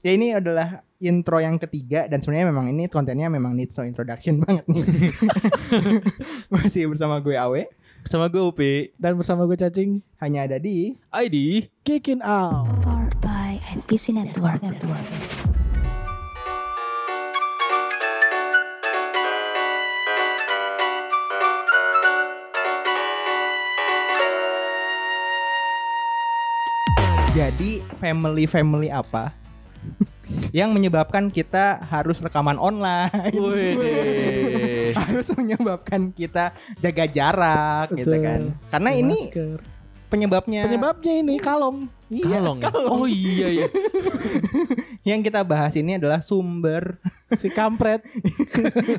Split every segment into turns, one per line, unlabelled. Ya ini adalah intro yang ketiga dan sebenarnya memang ini kontennya memang needs no introduction banget nih. Masih bersama gue Awe,
Sama gue Upi
Dan bersama gue cacing
hanya ada di
ID
Kikin out
Powered by NPC Network.
jadi family family apa yang menyebabkan kita harus rekaman online.
Wih
harus menyebabkan kita jaga jarak gitu
Betul.
kan. Karena
Pakai
ini
masker.
penyebabnya
Penyebabnya ini kalong
Iya,
Kalong ya Oh iya ya
yang kita bahas ini adalah sumber.
Si kampret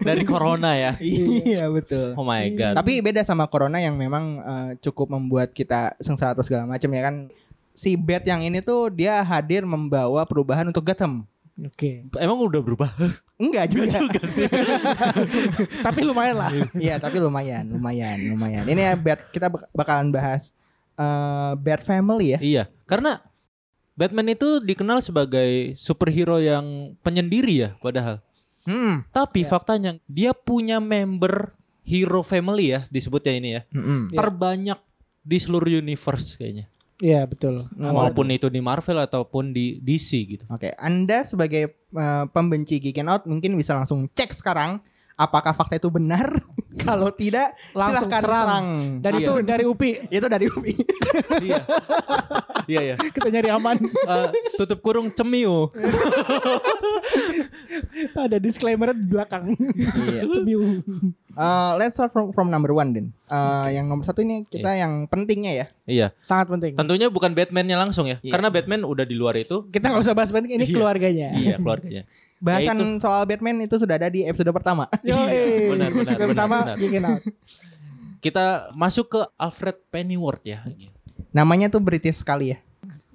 Dari Corona ya
iya, betul.
Oh my god
Tapi beda sama corona yang memang eh, cukup membuat kita sengsara atau segala macam ya kan. Si Bat yang ini tuh dia hadir membawa perubahan untuk Gotham.
Oke
Emang udah berubah?
Enggak
Enggak
juga.
juga sih
Tapi lumayan lah
Iya, tapi lumayan, lumayan, lumayan. Ini ya Bat kita bak- bakalan bahas eh Bat Family ya.
Iya Karena Batman itu dikenal sebagai superhero yang penyendiri ya padahal
Hmm.
Tapi
Iya.
faktanya dia punya member hero family ya disebutnya ini ya
Mm-mm.
Iya.
Terbanyak di seluruh universe kayaknya
Iya betul
Waduh.
Walaupun itu di Marvel ataupun di DC gitu
Oke, Anda sebagai eh, pembenci Geekin Out mungkin bisa langsung cek sekarang apakah fakta itu benar. Kalau tidak,
Langsung
silahkan
serang.
serang.
Dan
Iya.
itu dari UPI
Itu dari Upi.
Iya Iya iya
Kita nyari aman
Eh, Tutup kurung cemiu
Ada disclaimer di belakang
Iya.
Cemiu
Eh, let's start from, from number one, Din. Eh, Yang nomor satu ini kita yang pentingnya ya.
Iya
Sangat penting
Tentunya bukan Batman-nya langsung ya,
Iya.
karena Batman udah di luar itu.
Kita nggak usah bahas penting Ini
Iya.
keluarganya
Iya keluarganya.
Bahasan
Ya,
soal Batman itu sudah ada di episode pertama.
Iya,
Yoi.
benar, benar,
Yang
benar,
Pertama
benar.
Kikin out
Kita masuk ke Alfred Pennyworth ya.
Namanya tuh British sekali ya.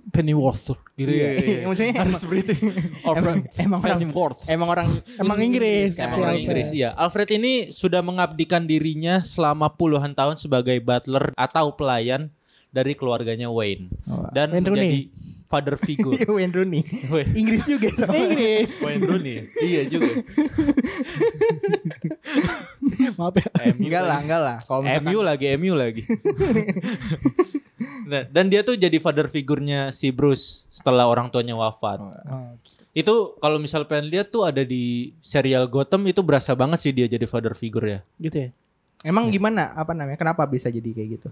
Pennyworth gitu
Iya,
ya.
iya. Maksudnya
harus British.
Emang-
Alfred
emang orang-
Pennyworth.
Emang orang
Emang Inggris
Emang
Emang
si
orang
Alfred.
Inggris. Iya, Alfred ini sudah mengabdikan dirinya selama puluhan tahun sebagai butler atau pelayan dari keluarganya Wayne
Oh.
dan
Wayne Rooney.
menjadi father figure.
Wayne Rooney.
Wayne-
Inggris juga sama.
Inggris
Wayne Rooney. Iya juga.
Maaf ya
Enggak lah, enggak lah. Kalau misalkan
MU lagi, MU lagi. Nah, dan dia tuh jadi father figurnya si Bruce setelah orang tuanya wafat.
Oh, iya.
Itu kalau misal pengen lihat tuh ada di serial Gotham itu berasa banget sih dia jadi father figure ya.
Gitu ya
emang gimana apa namanya? Kenapa bisa jadi kayak gitu?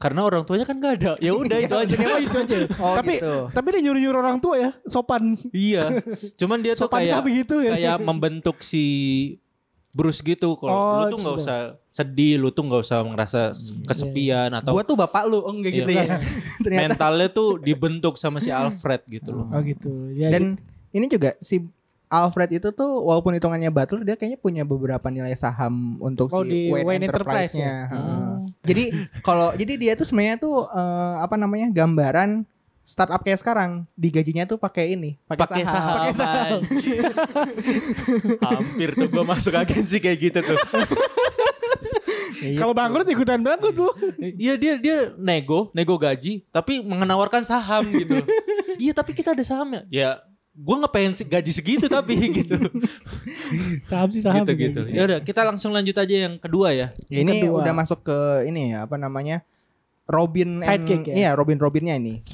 Karena orang tuanya kan gak ada. Ya udah itu aja.
Maksudnya apa itu aja. Oh,
tapi
gitu.
tapi dia nyuruh nyuruh orang tua ya sopan
iya. Cuman dia tuh
sopan
kayak
kah begitu ya
kayak membentuk si Bruce gitu kalau
Oh,
lu tuh nggak
coba.
usah sedih, lu tuh nggak usah merasa kesepian atau
Gua tuh bapak lu, oh, enggak
Iya.
gitu ya. Ternyata.
mentalnya tuh dibentuk sama si Alfred gitu loh.
oh gitu ya
Dan ini juga si Alfred itu tuh walaupun hitungannya butler dia kayaknya punya beberapa nilai saham untuk
Oh,
si
di
Wayne,
Wayne
Enterprise-nya.
Enterprise ya?
Heeh. Jadi kalau jadi dia tuh sebenarnya tuh eh, apa namanya gambaran startup kayak sekarang digajinya tuh pakai ini
pakai saham,
Pakai saham.
anjir. hampir tuh gue masuk agensi kayak gitu tuh
Iya.
kalau bangkrut ikutan bangkrut lu
iya dia dia nego nego gaji tapi menawarkan saham gitu iya tapi kita ada sahamnya ya gue nggak pengen se- gaji segitu tapi gitu
saham sih saham
gitu gitu ya udah kita langsung lanjut aja yang kedua ya
Ya, ini
Kedua.
udah masuk ke ini ya apa namanya Robin and-
Sidekick ya?
Iya, Robin Robinnya ini.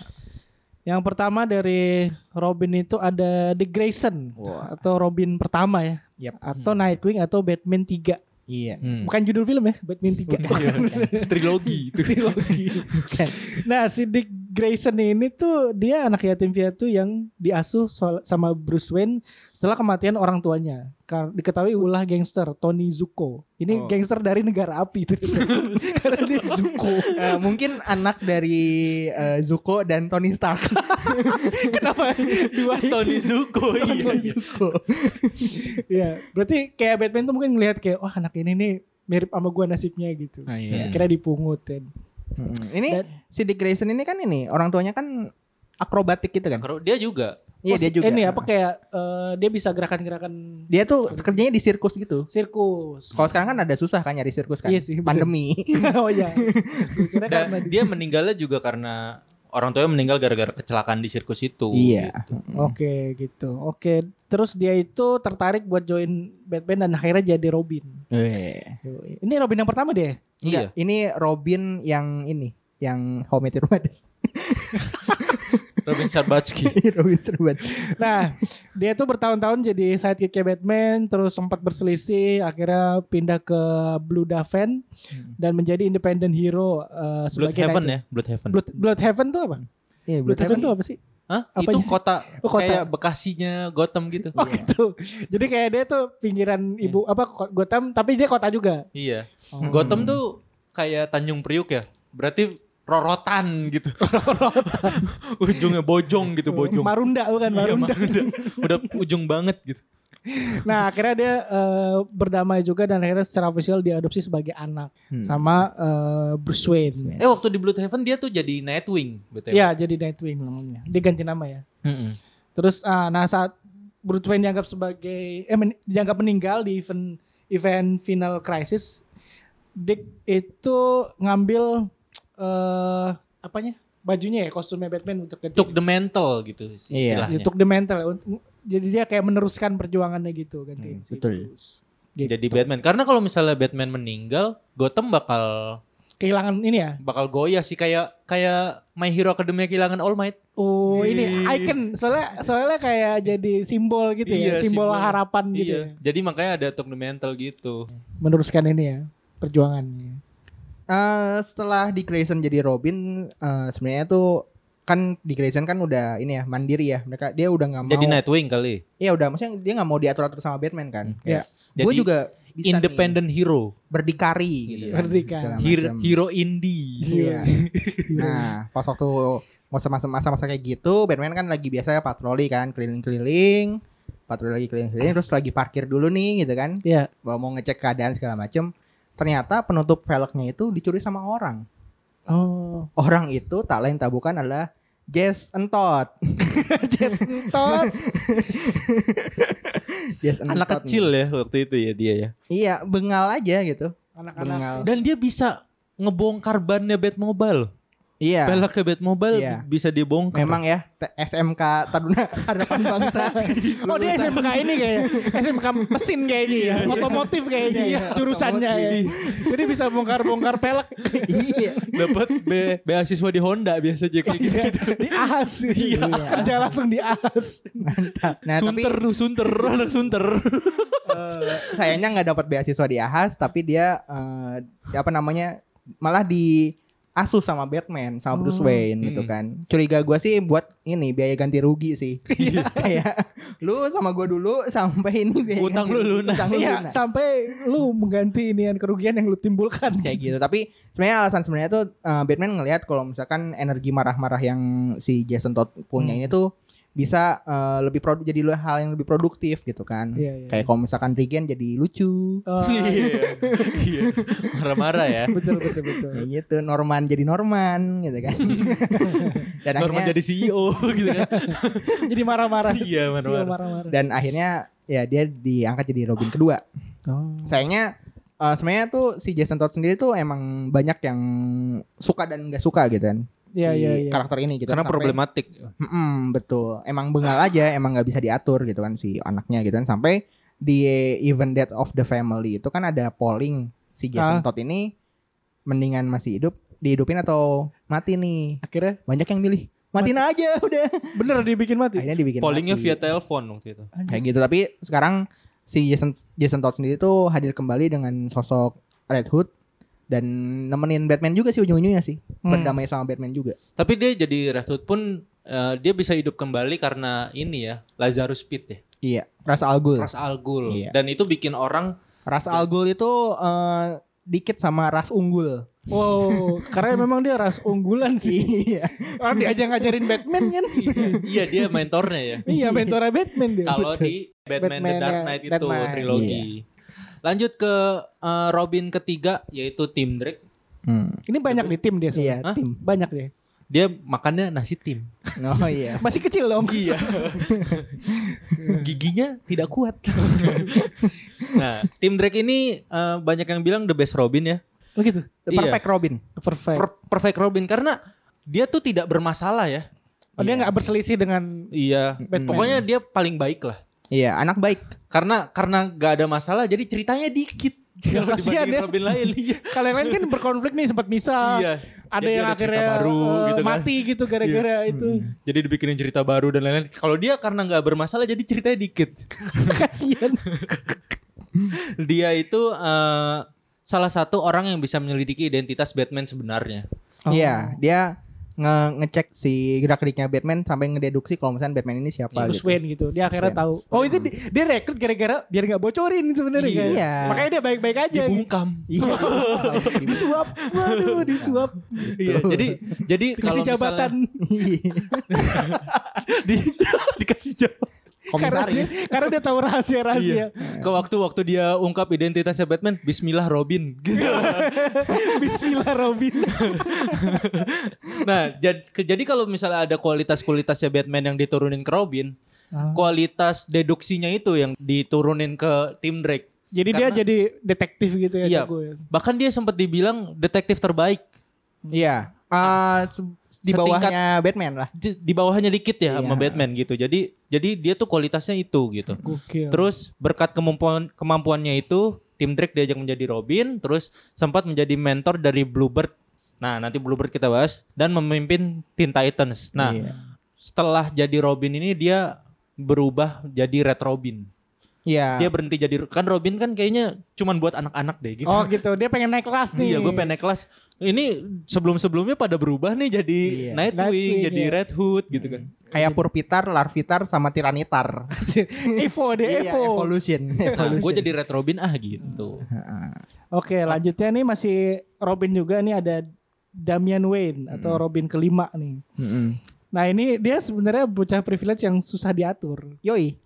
yang pertama dari Robin itu ada The Grayson
Wah.
atau Robin pertama ya
Yap.
atau Nightwing atau Batman 3
Iya.
Hmm.
bukan judul film ya Batman
Oh,
3
Iya. trilogi itu
Trilogi. nah si Dick Grayson ini tuh dia anak yatim piatu yang diasuh soal- sama Bruce Wayne setelah kematian orang tuanya. Kar- diketahui ulah gangster Tony Zuko.
Oh.
Ini gangster dari negara api itu. Karena dia Zuko.
Eh, mungkin anak dari eh, Zuko dan Tony Stark.
Kenapa dua itu?
Tony Zuko iya
Zuko.
Ya, berarti kayak Batman tuh mungkin ngelihat kayak wah anak ini nih mirip sama gua nasibnya gitu.
Ah, iya.
Kira dipungutin.
Mm-mm. Hmm, Ini
Dan-
si Dick Grayson ini kan ini orang tuanya kan akrobatik gitu kan?
Karo- dia juga
Iya
Oh,
dia juga.
Ini apa kayak eh, dia bisa gerakan-gerakan
Dia tuh kerjanya di sirkus gitu.
sirkus.
Kalau sekarang kan ada susah kan nyari sirkus kan?
Iya sih, bener.
Pandemi.
oh ya. Gua kira
dan
karena-
dia meninggalnya juga karena orang tuanya meninggal gara-gara kecelakaan di sirkus itu.
Iya.
gitu.
Oke gitu. Oke, terus dia itu tertarik buat join Batman dan akhirnya jadi Robin.
Iya.
Yoi. Ini Robin yang pertama deh.
Iya.
Ini Robin yang ini yang Home Meteor Mother.
Robin Sarbatsky.
Robin serbat.
Nah, dia tuh bertahun-tahun jadi sidekicknya Batman, terus sempat berselisih, akhirnya pindah ke Blue Daven
Hmm.
dan menjadi independent hero eh,
Blood
sebagai
Heaven
Nightwing.
ya, Blood Heaven.
Blood, Blood Heaven tuh apa?
Iya,
Blood Heaven tuh apa sih?
Hah?
Apa
itu
aja sih?
kota,
Oh, kota.
kayak Bekasinya Gotham gitu.
Oh gitu. Jadi kayak dia tuh pinggiran ibu apa ko- Gotham, tapi dia kota juga.
Iya.
Oh.
Gotham tuh kayak Tanjung Priuk ya. Berarti rorotan gitu. Ujungnya bojong gitu, bojong.
Marunda bukan
Iya,
Marunda.
Marunda. Udah ujung banget gitu.
Nah akhirnya dia eh, berdamai juga dan akhirnya secara official diadopsi sebagai anak
Hmm.
sama eh, Bruce Wayne.
Eh waktu di Blood Heaven dia tuh jadi Nightwing BTW.
Iya jadi Nightwing namanya. Dia ganti nama ya.
Mm-mm.
Terus ah, nah saat Bruce Wayne dianggap sebagai eh men- dianggap meninggal di event event final crisis, Dick itu ngambil eh apanya bajunya ya kostumnya Batman untuk ganti.
Took the mantle gitu
Iya.
istilahnya.
untuk the mental ya, untuk- jadi dia kayak meneruskan perjuangannya gitu gantiin
Hmm,
si
betul.
Bruce. Gitu.
Jadi Batman. Karena kalau misalnya Batman meninggal, Gotham bakal
kehilangan ini ya
bakal goyah sih kayak kayak My Hero Academia kehilangan All Might.
oh ini
Iya.
Ih.
icon soalnya soalnya kayak jadi simbol gitu
Iya,
ya simbol,
simbol.
harapan gitu
Iya.
ya.
Jadi makanya ada Took the mantle gitu.
meneruskan ini ya perjuangannya
Eh, setelah Dick Grayson jadi Robin eh, sebenarnya tuh kan Dick Grayson kan udah ini ya mandiri ya mereka dia udah nggak mau
Jadi Nightwing kali.
Iya udah maksudnya dia nggak mau diatur atur sama Batman kan
Hmm.
Kayak,
Jadi
gue juga bisa
independent hero.
nih, berdikari gitu
Iya.
kan,
Berdikari.
segala
Hero,
macam.
hero indie.
Iya. Nah, pas waktu masa-masa masa-masa kayak gitu, Batman kan lagi biasa patroli kan, keliling-keliling, patroli lagi keliling-keliling, terus lagi parkir dulu nih gitu kan,
Iya.
mau mau ngecek keadaan segala macem. Ternyata penutup velgnya itu dicuri sama orang.
oh
Orang itu tak lain tak bukan adalah Jason Todd.
Jason Todd
Jason
Anak
Todd
kecil
nih.
ya waktu itu ya dia ya.
Iya, bengal aja gitu.
anak-anak
Bengal.
Dan dia bisa ngebongkar bannya Batmobile.
Iya.
Pelaknya Batmobile
Iya.
bisa dibongkar.
Memang ya T- SMK Taruna Harapan Bangsa.
Oh dia
Lulusan-
SMK ini kayaknya SMK mesin kayaknya ya Otomotif kayaknya ya, Jurusannya ya Jadi bisa bongkar-bongkar pelek
Iya.
dapat be- beasiswa di Honda biasa aja kayak gitu.
Iya, Di ahas
Iya.
Kerja langsung di ahas
Nah, tapi
sunter tuh sunter anak sunter.
Eh, sayangnya nggak dapat beasiswa di Ahas tapi dia eh, apa namanya malah di asuh sama Batman
Oh,
sama Bruce Wayne gitu
Hmm.
kan curiga gua sih buat ini biaya ganti rugi sih
Iya.
kayak lu sama gua dulu sampai ini biaya
Utang
ganti
lu
rugi,
lunas.
utang lu
Iya
lunas.
sampai lu mengganti inian kerugian yang lu timbulkan
kayak gitu tapi sebenarnya alasan sebenarnya tuh eh, Batman ngelihat kalau misalkan energi marah-marah yang si Jason Todd punya ini
Hmm.
tuh bisa eh, lebih produ jadi hal yang lebih produktif gitu kan
Iya, iya.
kayak kalau misalkan Regen jadi lucu
Oh,
Iya. Iya. Marah-marah ya.
Betul betul betul
Kayak gitu Norman jadi Norman gitu kan dan
Norman
akhirnya
jadi CEO gitu kan.
Jadi marah-marah
Iya, marah-marah.
Sial, marah-marah
dan akhirnya ya dia diangkat jadi Robin kedua
Oh.
sayangnya eh, sebenarnya tuh si Jason Todd sendiri tuh emang banyak yang suka dan nggak suka gitu kan
Iya
si
iya iya
karakter ini gitu
Karena
Sampai-
problematik.
Mm-mm, betul emang bengal aja emang nggak bisa diatur gitu kan si anaknya gitu kan sampai di event death of the family itu kan ada polling si
Ah.
Jason Todd ini mendingan masih hidup dihidupin atau mati nih
Akhirnya
banyak yang milih matiin aja udah
bener dibikin mati
akhirnya dibikin
Pollingnya
mati.
via telepon waktu itu.
kayak gitu tapi sekarang si Jason Jason Todd sendiri tuh hadir kembali dengan sosok Red Hood dan nemenin Batman juga sih ujung-ujungnya sih
Hmm.
berdamai sama Batman juga
Tapi dia jadi Red Hood pun eh, dia bisa hidup kembali karena ini ya Lazarus Pit ya.
iya Ras Al Ghul
Ras Al Ghul.
Iya.
Dan itu bikin orang
Ras Al Ghul itu eh, dikit sama Ras Unggul
Wow Karena memang dia ras unggulan sih
iya
Orang diajak ngajarin Batman kan
iya dia mentornya ya.
Iya mentornya Batman dia
Kalau di Batman, The
Batman,
Dark
ya,
Knight itu
Dark Knight.
trilogi.
Iya.
Lanjut ke eh, Robin ketiga yaitu Tim Drake.
Hmm.
Ini banyak di tim
iya
dia soalnya
Hah?
tim
Banyak deh
Dia makannya nasi tim.
oh iya
Masih kecil dong
Iya. Giginya tidak kuat. nah, Tim Drake ini eh, banyak yang bilang the best Robin ya.
Begitu
The Perfect Robin
Oh, gitu. Perfect
Per- perfect Robin karena dia tuh tidak bermasalah ya.
Oh, dia nggak berselisih dengan
Iya.
Batman.
Pokoknya dia paling baik lah.
Iya, anak baik.
Karena karena gak ada masalah jadi ceritanya dikit.
Ya,
Kalau
kasihan
dibandingin
ya.
Robin lain iya.
kalian lain kan berkonflik nih sempat misal.
Iya.
Ada
Jadi
yang
cerita
akhirnya
baru
eh,
gitu kan. Iya. Hmm.
mati gitu gara-gara itu.
Jadi dibikinin cerita baru dan lain-lain. Kalau dia karena nggak bermasalah jadi ceritanya dikit.
Kasihan.
dia itu eh, salah satu orang yang bisa menyelidiki identitas Batman sebenarnya.
Iya, dia nge- ngecek si gerak-geriknya Batman sampai ngededuksi kalau misalnya Batman ini siapa
Bruce
gitu.
Wayne gitu. Dia akhirnya
Bruce
tahu. Oh, itu di- dia rekrut gara-gara biar nggak bocorin sebenarnya
Iya.
kan. Makanya dia baik-baik aja.
Dibungkam.
Iya.
Disuap. Waduh, disuap.
Iya, jadi jadi kalau
Dikasih jabatan.
misalnya
Iya.
di- dikasih jabatan. Iya.
Karena dia,
Komisaris.
karena dia tahu rahasia-rahasia.
Ke waktu-waktu dia ungkap identitasnya Batman, Bismillah Robin. Gitu.
Bismillah Robin.
nah, jad- ke- jadi kalau misalnya ada kualitas-kualitasnya Batman yang diturunin ke Robin, kualitas deduksinya itu yang diturunin ke tim Drake.
Jadi dia
Karena-
jadi detektif gitu ya
Iya.
jago ya.
Bahkan dia sempat dibilang detektif terbaik
Iya. Ah,
Nah,
se- di bawahnya Batman lah.
di di bawahnya dikit ya sama
Iya.
Batman gitu. Jadi jadi dia tuh kualitasnya itu gitu.
Gokil.
Terus berkat kemampuan kemampuannya itu, tim Drake diajak menjadi Robin, terus sempat menjadi mentor dari Bluebird. Nah, nanti Bluebird kita bahas dan memimpin Teen Titans. Nah,
Iya.
setelah jadi Robin ini dia berubah jadi Red Robin.
Iya.
Dia berhenti jadi kan Robin kan kayaknya cuman buat anak-anak deh gitu.
Oh gitu, dia pengen naik kelas nih.
Iya, gue pengen naik kelas. Ini sebelum-sebelumnya pada berubah nih jadi
Iya.
Nightwing,
Nightwing,
jadi
iya.
Red Hood gitu kan.
Kayak Purpitar, Larvitar sama Tiranitar.
Evo deh,
Iya,
Evo.
evolution.
Nah,
evolution.
gue jadi Red Robin ah gitu.
Oke,
Ah.
lanjutnya nih masih Robin juga nih ada Damian Wayne atau
Hmm.
Robin kelima nih.
Mm-mm.
Nah ini dia sebenarnya bocah privilege yang susah diatur.
Yoi.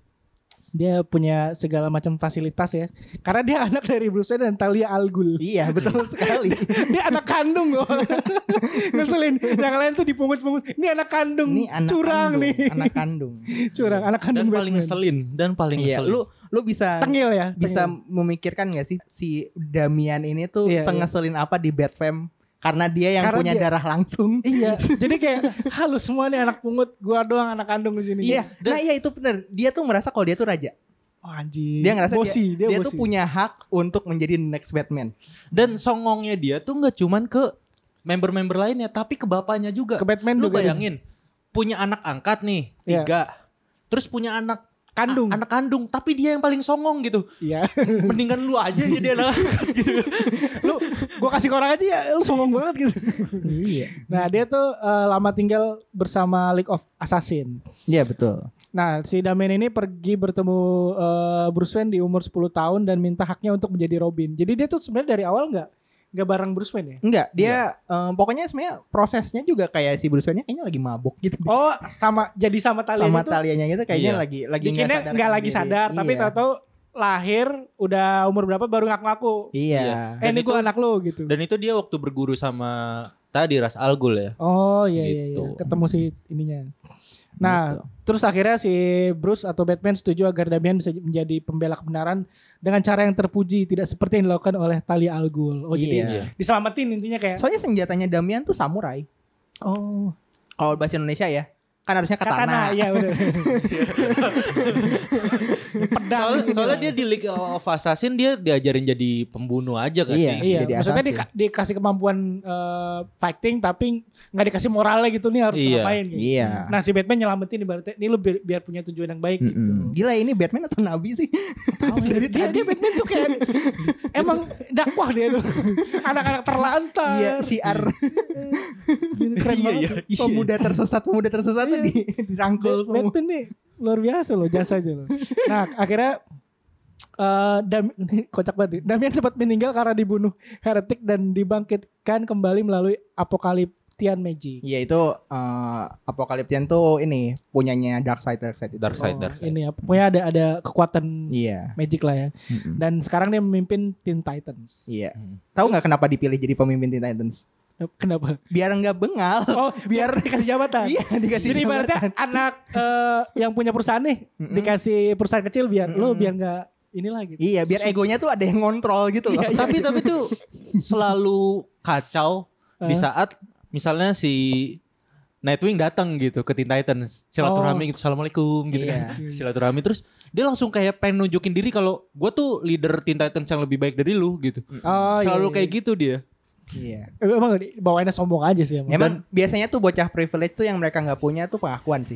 Dia punya segala macam fasilitas ya. Karena dia anak dari Bruce Wayne dan Talia Al Ghul.
Iya, betul sekali.
Dia anak kandung loh. Ngeselin. Yang lain tuh dipungut-pungut. Ini anak kandung.
Ini anak
Curang
kandung,
nih.
anak kandung.
Curang. Anak
dan
kandung
paling
Batman.
ngeselin dan paling
Iya,
ngeselin.
lu lu bisa
Tengil ya.
bisa
tengil.
memikirkan gak sih si Damian ini tuh
Iya,
sengeselin apa di Batfam karena dia yang
Karena
punya
dia-
darah langsung.
Iya. Jadi kayak halus semua nih anak pungut. Gua doang anak kandung di sini.
Iya, nah iya itu benar. Dia tuh merasa kalau dia tuh raja.
Oh, anjing.
Dia ngerasa
bosi,
dia,
dia,
dia
bosi.
tuh punya hak untuk menjadi next Batman.
Dan songongnya dia tuh nggak cuman ke member-member lainnya, tapi ke bapaknya juga.
Ke Batman ya.
lu
juga.
bayangin punya anak angkat nih
Iya.
tiga, terus punya anak
Kandung.
a- anak kandung, tapi dia yang paling songong gitu.
Iya.
Mendingan lu aja yang jadi anak gitu.
lu gua kasih ke orang aja ya lu songong banget gitu
Iya.
nah dia tuh eh, lama tinggal bersama League of Assassin
Iya, betul.
nah si Damian ini pergi bertemu eh, Bruce Wayne di umur 10 tahun dan minta haknya untuk menjadi Robin jadi dia tuh sebenarnya dari awal nggak nggak bareng Bruce Wayne ya
Enggak, dia em, pokoknya sebenarnya prosesnya juga kayak si Bruce Wayne kayaknya lagi mabuk gitu.
oh sama jadi sama Talia
sama
itu
talianya gitu kayaknya
Iya.
lagi lagi
bikinnya
sadarkan
nggak lagi
diri.
sadar tapi
Iya.
tahu-tahu lahir udah umur berapa baru ngaku-ngaku
Iya.
Iya.
eh ini gue anak lu gitu
Dan itu dia waktu berguru sama tadi Ras Al Ghul ya.
Oh iya iya iya
Gitu.
ketemu si ininya. Nah, terus akhirnya si Bruce atau Batman setuju agar Damian bisa menjadi pembela kebenaran dengan cara yang terpuji, tidak seperti yang dilakukan oleh Talia al Ghul. Oh jadi
Iya.
diselamatin intinya kayak
Soalnya senjatanya Damian tuh samurai.
oh
Kalau bahasa Indonesia ya, kan harusnya katana.
katana, ya udah. Pedang
Soalnya,
gitu.
soalnya dia di League of Assassin dia diajarin jadi pembunuh aja kan
Iya.
sih.
Iya,
jadi
maksudnya
assassin.
dika- dikasih kemampuan eh, fighting tapi nggak dikasih moralnya gitu nih harus
Iya.
ngapain gitu.
Iya.
Nah si Batman nyelamatin ibaratnya ini lu biar, biar punya tujuan yang baik gitu.
Mm-mm. Gila ini Batman atau Nabi sih? Dari
Oh, dia,
tadi.
dia Batman tuh kayak emang dakwah dia tuh anak-anak terlantar
Iya, siar.
keren
Iya,
banget
iya, iya.
Pemuda tersesat, pemuda tersesat tuh
Iya.
di, dirangkul
Bat-
semua.
Batman nih luar biasa loh jasanya loh nah akhirnya eh Dam- kocak banget nih. Damian sempat meninggal karena dibunuh heretik dan dibangkitkan kembali melalui apokaliptian magic
Iya itu eh, apokaliptian tuh ini punyanya Darkseid Darkseid itu.
Darkseid,
Oh,
Darkseid.
ini ya pokoknya ada ada kekuatan
Iya.
magic lah ya
Mm-mm.
dan sekarang dia memimpin Teen Titans
Iya. Tahu nggak kenapa dipilih jadi pemimpin Teen Titans?
kenapa
Biar nggak bengal.
oh
Biar
dikasih jabatan
iya dikasih
Oh, Jadi ibaratnya
jabatan.
anak eh, yang punya perusahaan nih
Mm-mm.
dikasih perusahaan kecil biar lo
Mm-mm.
biar nggak inilah gitu.
Iya, biar egonya tuh ada yang ngontrol gitu loh.
Iya,
tapi tapi tuh selalu kacau di
Hah?
saat misalnya si Nightwing datang gitu ke Teen Titans
Oh.
silaturahmi gitu assalamualaikum gitu
Iya.
kan silaturahmi terus dia langsung kayak pengen nunjukin diri kalau gue tuh leader Teen Titans yang lebih baik dari lu gitu
Oh,
selalu
iya,
kayak
iya.
gitu dia
Iya.
Eh, Emang di- bawaannya sombong aja sih emang.
Emang biasanya tuh bocah privilege tuh yang mereka nggak punya tuh pengakuan sih.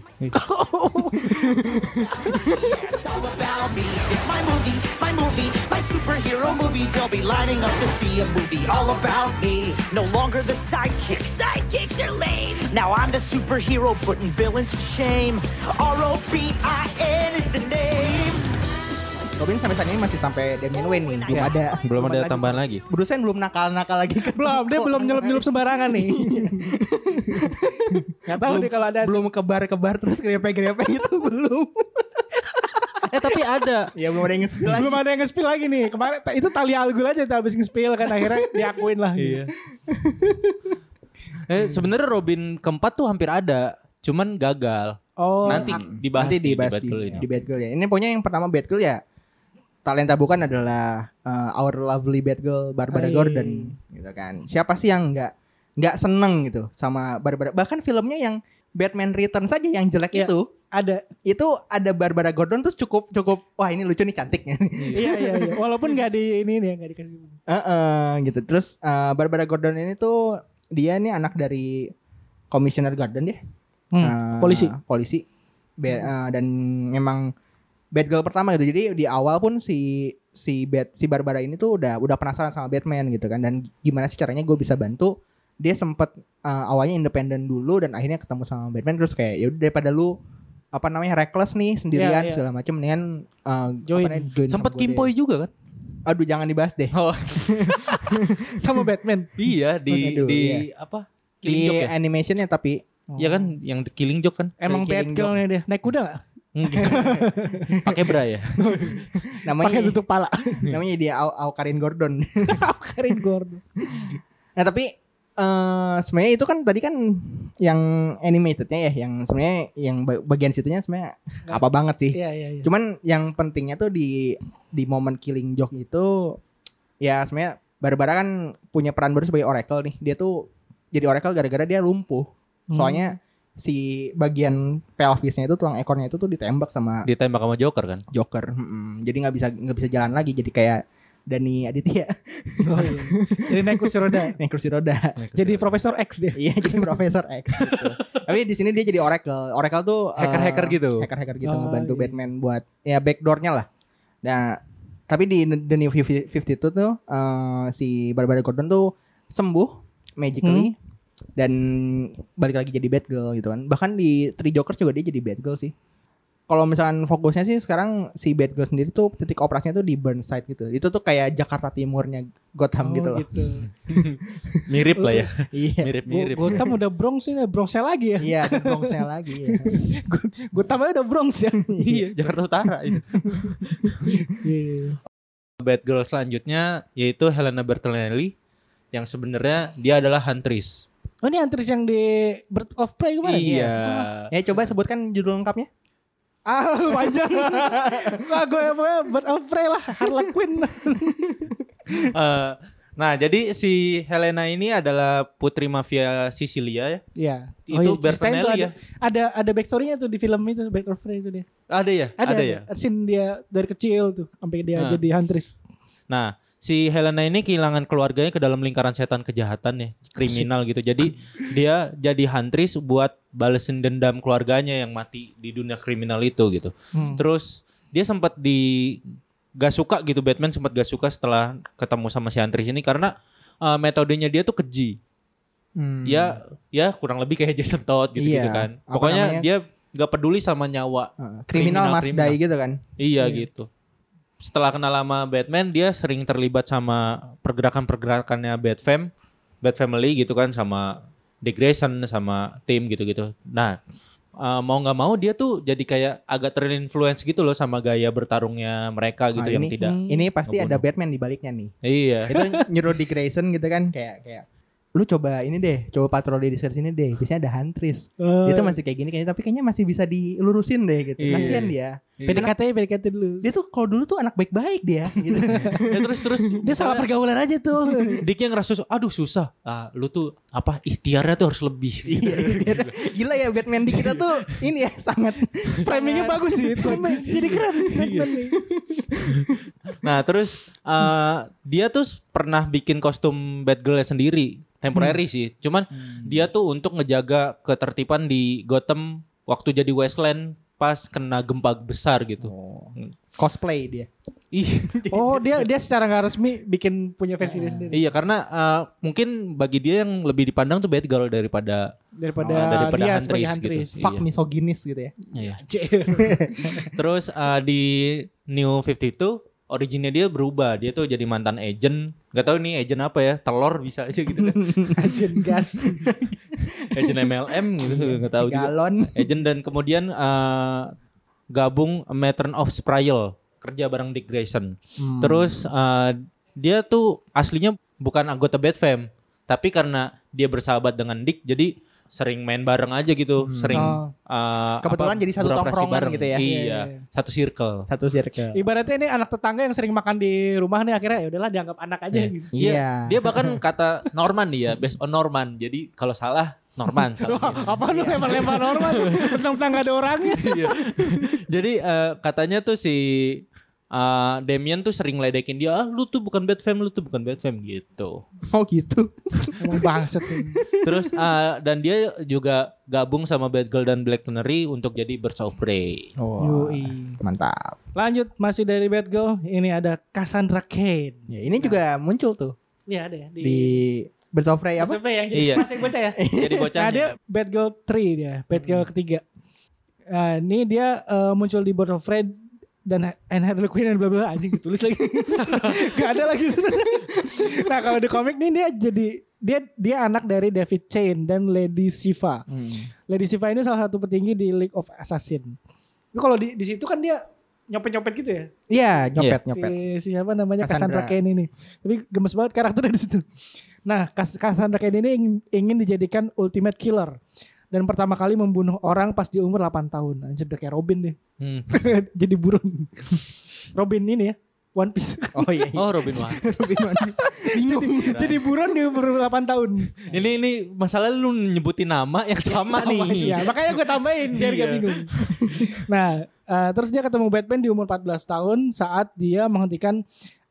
It's all about me. It's my movie, my movie, my superhero movie. They'll be lining up to see a movie all about me. No longer the sidekick. Sidekicks are lame. Now I'm the superhero putting villains to shame. R O B I N is the name.
Robin sampai saat ini masih sampai Damian Wayne nih, belum ada.
belum ada tambahan lagi
Bruce Wayne belum nakal-nakal lagi kan?
belum, dia belum nyelup-nyelup sembarangan nih. Gak tahu
Belum,
deh kalau ada
belum kebar-kebar terus grepe-grepe gitu belum.
eh tapi ada
Ya belum ada yang nge-spill lagi.
belum ada yang nge-spill lagi nih. Kemarin ta- itu tali algul aja tuh habis nge-spill kan akhirnya diakuin lah. gitu.
iya eh sebenarnya Robin keempat tuh hampir ada cuman gagal
Oh.
nanti dibahas
Nanti
di- di
dibahas di,
Batgirl ini.
di Batgirl ya. Ini punya yang pertama Batgirl ya. Talenta bukan adalah uh, Our Lovely Batgirl Barbara
Hai.
Gordon gitu kan. Siapa sih yang nggak nggak seneng gitu sama Barbara? Bahkan filmnya yang Batman Return saja yang jelek
Ya.
Iya.
itu
ada.
itu ada Barbara Gordon terus cukup cukup wah ini lucu nih cantiknya.
Hmm.
iya iya iya. Walaupun gak di ini nih gak dikasih.
Heeh, gitu. Terus uh, Barbara Gordon ini tuh dia nih anak dari Komisioner Gordon deh.
Hmm,
Eh,
polisi.
polisi Be- eh, dan memang bad girl pertama gitu jadi di awal pun si si Bat- si Barbara ini tuh udah udah penasaran sama Batman gitu kan dan gimana sih caranya gue bisa bantu dia sempet eh, awalnya independen dulu dan akhirnya ketemu sama Batman terus kayak ya udah daripada lu apa namanya reckless nih sendirian
Iya, iya.
segala macem mendingan eh, apa
Join.
namanya, join sama
sempat
gua
kimpoi juga kan
deh. aduh jangan dibahas deh
oh
Sama Batman.
iya di
Aduh,
di
iya.
apa
di
killing joke ya
animationnya tapi
Iya kan yang di killing joke kan
Emang
Killing
bad girl-nya dia naik kuda gak?
Enggak. pakai bra ya
namanya
Pakai tutup pala.
namanya dia Au- Aukarin Gordon
Karin Gordon.
Nah tapi eh sebenarnya itu kan tadi kan yang animatednya ya, yang sebenarnya yang ba- bagian situnya sebenarnya apa banget sih.
Iya iya iya.
Cuman yang pentingnya tuh di di momen killing joke itu ya sebenarnya Barbara kan punya peran baru sebagai Oracle nih. Dia tuh jadi Oracle gara-gara dia lumpuh. Soalnya si bagian pelvisnya itu tulang ekornya itu tuh ditembak sama
ditembak sama Joker kan
Joker. Mm-mm. Jadi nggak bisa nggak bisa jalan lagi. Jadi kayak Dani Aditya
Oh, iya. Jadi naik kursi roda.
naik kursi roda.
Gitu
Jadi
ya.
Profesor X dia.
Iya jadi Profesor X gitu. Tapi di sini dia jadi Oracle. Oracle tuh eh,
Hacker-hacker gitu.
Hacker-hacker gitu
Ah,
ngebantu
iya.
Batman buat ya backdoornya lah. Nah, tapi di The New 50 52 tuh eh, si Barbara Gordon tuh sembuh magically
Hmm.
dan balik lagi jadi Batgirl gitu kan. Bahkan di Three Jokers juga dia jadi Batgirl sih. Kalau misalkan fokusnya sih sekarang si Batgirl sendiri tuh titik operasinya tuh di Burnside gitu. Itu tuh kayak Jakarta Timurnya Gotham
Oh,
gitu loh.
mirip lah ya
Iya.
mirip
Go-
mirip
Gotham udah Bronx ini, Bronxnya lagi ya.
Iya, ada Bronx-nya lagi. Ya.
Gotham aja udah Bronx ya.
iya Jakarta Utara ini
Iya, iya, iya.
bad girl selanjutnya yaitu Helena Bertinelli yang sebenarnya dia adalah huntress
Oh ini antris yang di Bird of Prey kemarin?
iya
Ya coba sebutkan judul lengkapnya.
Ah panjang. Wah gue pokoknya Bird of Prey lah. Harlequin.
Eh, nah jadi si Helena ini adalah putri mafia Sisilia ya
Iya.
Itu Bertinelli
ceritanya tuh
ya?
Ada ada, ada backstory-nya tuh di film itu Bird of Prey itu dia.
ada ya ada, ya
Scene dia dari kecil tuh sampai dia
Ah.
jadi huntress.
nah si Helena ini kehilangan keluarganya ke dalam lingkaran setan kejahatan ya kriminal gitu jadi dia jadi huntress buat balesin dendam keluarganya yang mati di dunia kriminal itu gitu
Hmm.
Terus dia sempat di gak suka gitu Batman sempat gak suka setelah ketemu sama si Antris ini karena uh, metodenya dia tuh keji.
Hmm.
Ya ya kurang lebih kayak Jason Todd gitu gitu
Iya.
kan.
Apa
Pokoknya
namanya? Ah.
dia gak peduli sama nyawa.
Heeh, kriminal,
Kriminal,
Mas
kriminal.
Dai gitu kan.
Iya gitu. Setelah kenal sama Batman dia sering terlibat sama pergerakan-pergerakannya Batfam, Bat Family gitu kan sama Dick Grayson sama tim gitu-gitu. Nah, uh, mau nggak mau dia tuh jadi kayak agak terinfluence gitu loh sama gaya bertarungnya mereka
Ah,
gitu
Nah,
yang
ini-
tidak
Ini pasti ada
Ngebunuh.
Batman di baliknya nih.
Iya.
Itu nyuruh di Grayson gitu kan kayak kayak lu coba ini deh, coba patroli di sekitar sini deh. Biasanya ada huntris.
Eh,
Dia tuh masih kayak gini kayaknya, tapi kayaknya masih bisa dilurusin deh gitu.
Iya.
Kasihan dia.
PDKT PDKT dulu.
Dia tuh kalau dulu tuh anak baik-baik dia gitu.
Ya terus terus
Dia salah pergaulan aja tuh.
Diknya ngerasa su- aduh susah. Ah, lu tuh apa ikhtiarnya tuh harus lebih.
Iya, iya. Gila ya Batman di kita tuh ini ya sangat
Iya.
Framingnya bagus sih itu. Jadi keren. Batman nih.
Nah, terus eh, dia tuh pernah bikin kostum Batgirl sendiri, temporary sih. Cuman dia tuh untuk ngejaga ketertiban di Gotham waktu jadi Westland pas kena gempa besar gitu.
cosplay dia.
Ih,
Oh dia dia secara nggak resmi bikin punya versi dia sendiri
iya karena eh, mungkin bagi dia yang lebih dipandang tuh Batgirl daripada
daripada,
Oh, daripada
dia
Huntress
sebagai
gitu.
Huntress.
Iya.
Fuck misoginis gitu ya.
Iya.
Anjir.
Terus eh, di New 52 originnya dia berubah. Dia tuh jadi mantan agent. Gak tahu nih agent apa ya. Telur bisa aja gitu kan.
Anjir gas.
agent MLM gitu nggak tahu juga.
Galon.
Agent dan kemudian eh, gabung A Matern of Sprayal kerja bareng Dick Grayson.
Hmm.
Terus eh, dia tuh aslinya bukan anggota Batfam, tapi karena dia bersahabat dengan Dick jadi sering main bareng aja gitu, sering
Oh.
eh,
Hmm. Kebetulan jadi satu
beroperasi
tongkrongan
bareng.
gitu ya.
Iya,
Iya, iya.
satu circle.
satu circle.
Ibaratnya ini anak tetangga yang sering makan di rumah nih akhirnya ya udahlah dianggap anak aja
Iya.
gitu.
Iya.
Iya.
Dia bahkan kata Norman dia based on Norman. Jadi kalau salah Norman.
Wah,
salahnya.
apa lu lempar-lempar normal Tentang-tentang gak ada orangnya
Iya. Jadi eh, katanya tuh si eh, Damien tuh sering ledekin dia, ah, lu tuh bukan Batfam, lu tuh bukan Batfam gitu.
Oh gitu.
Emang bangset ini.
Terus eh, dan dia juga gabung sama Batgirl dan Black Canary untuk jadi Birds of Prey.
Oh,
Yoi.
mantap.
Lanjut masih dari Bad Girl Ini ada Cassandra Cain
Ya, ini juga muncul tuh
Iya ada ya, di,
di Birds of Prey apa?
Siapa yang jadi
Iya.
mas yang bocah ya
Jadi
Nah dia
bocahnya.
Bad Girl 3 dia Bad Girl ketiga Nah ini dia eh, muncul di Board of Fred dan and Harley Quinn dan bla bla anjing ditulis lagi gak ada lagi nah kalau di komik nih dia jadi dia dia anak dari David Chain dan Lady Shiva
Hmm.
Lady Siva ini salah satu petinggi di League of Assassin. Tapi kalau di di situ kan dia nyopet-nyopet gitu ya.
Iya, nyopet nyopet.
Si, siapa namanya
Cassandra.
Cassandra, Cain ini. Tapi gemes banget karakternya di situ. Nah, Cas- Cassandra Cain ini ingin, ingin dijadikan ultimate killer dan pertama kali membunuh orang pas di umur 8 tahun. Anjir udah kayak Robin deh.
Hmm.
Jadi buron. Robin ini ya. One Piece.
Oh iya.
Oh Robin Wah.
Bingung.
Jadi buron di umur 8 tahun.
ini ini masalah lu nyebutin nama yang sama nih.
Iya, makanya gue tambahin biar gak
Iya.
bingung. Nah, eh, terus dia ketemu Batman di umur 14 tahun saat dia menghentikan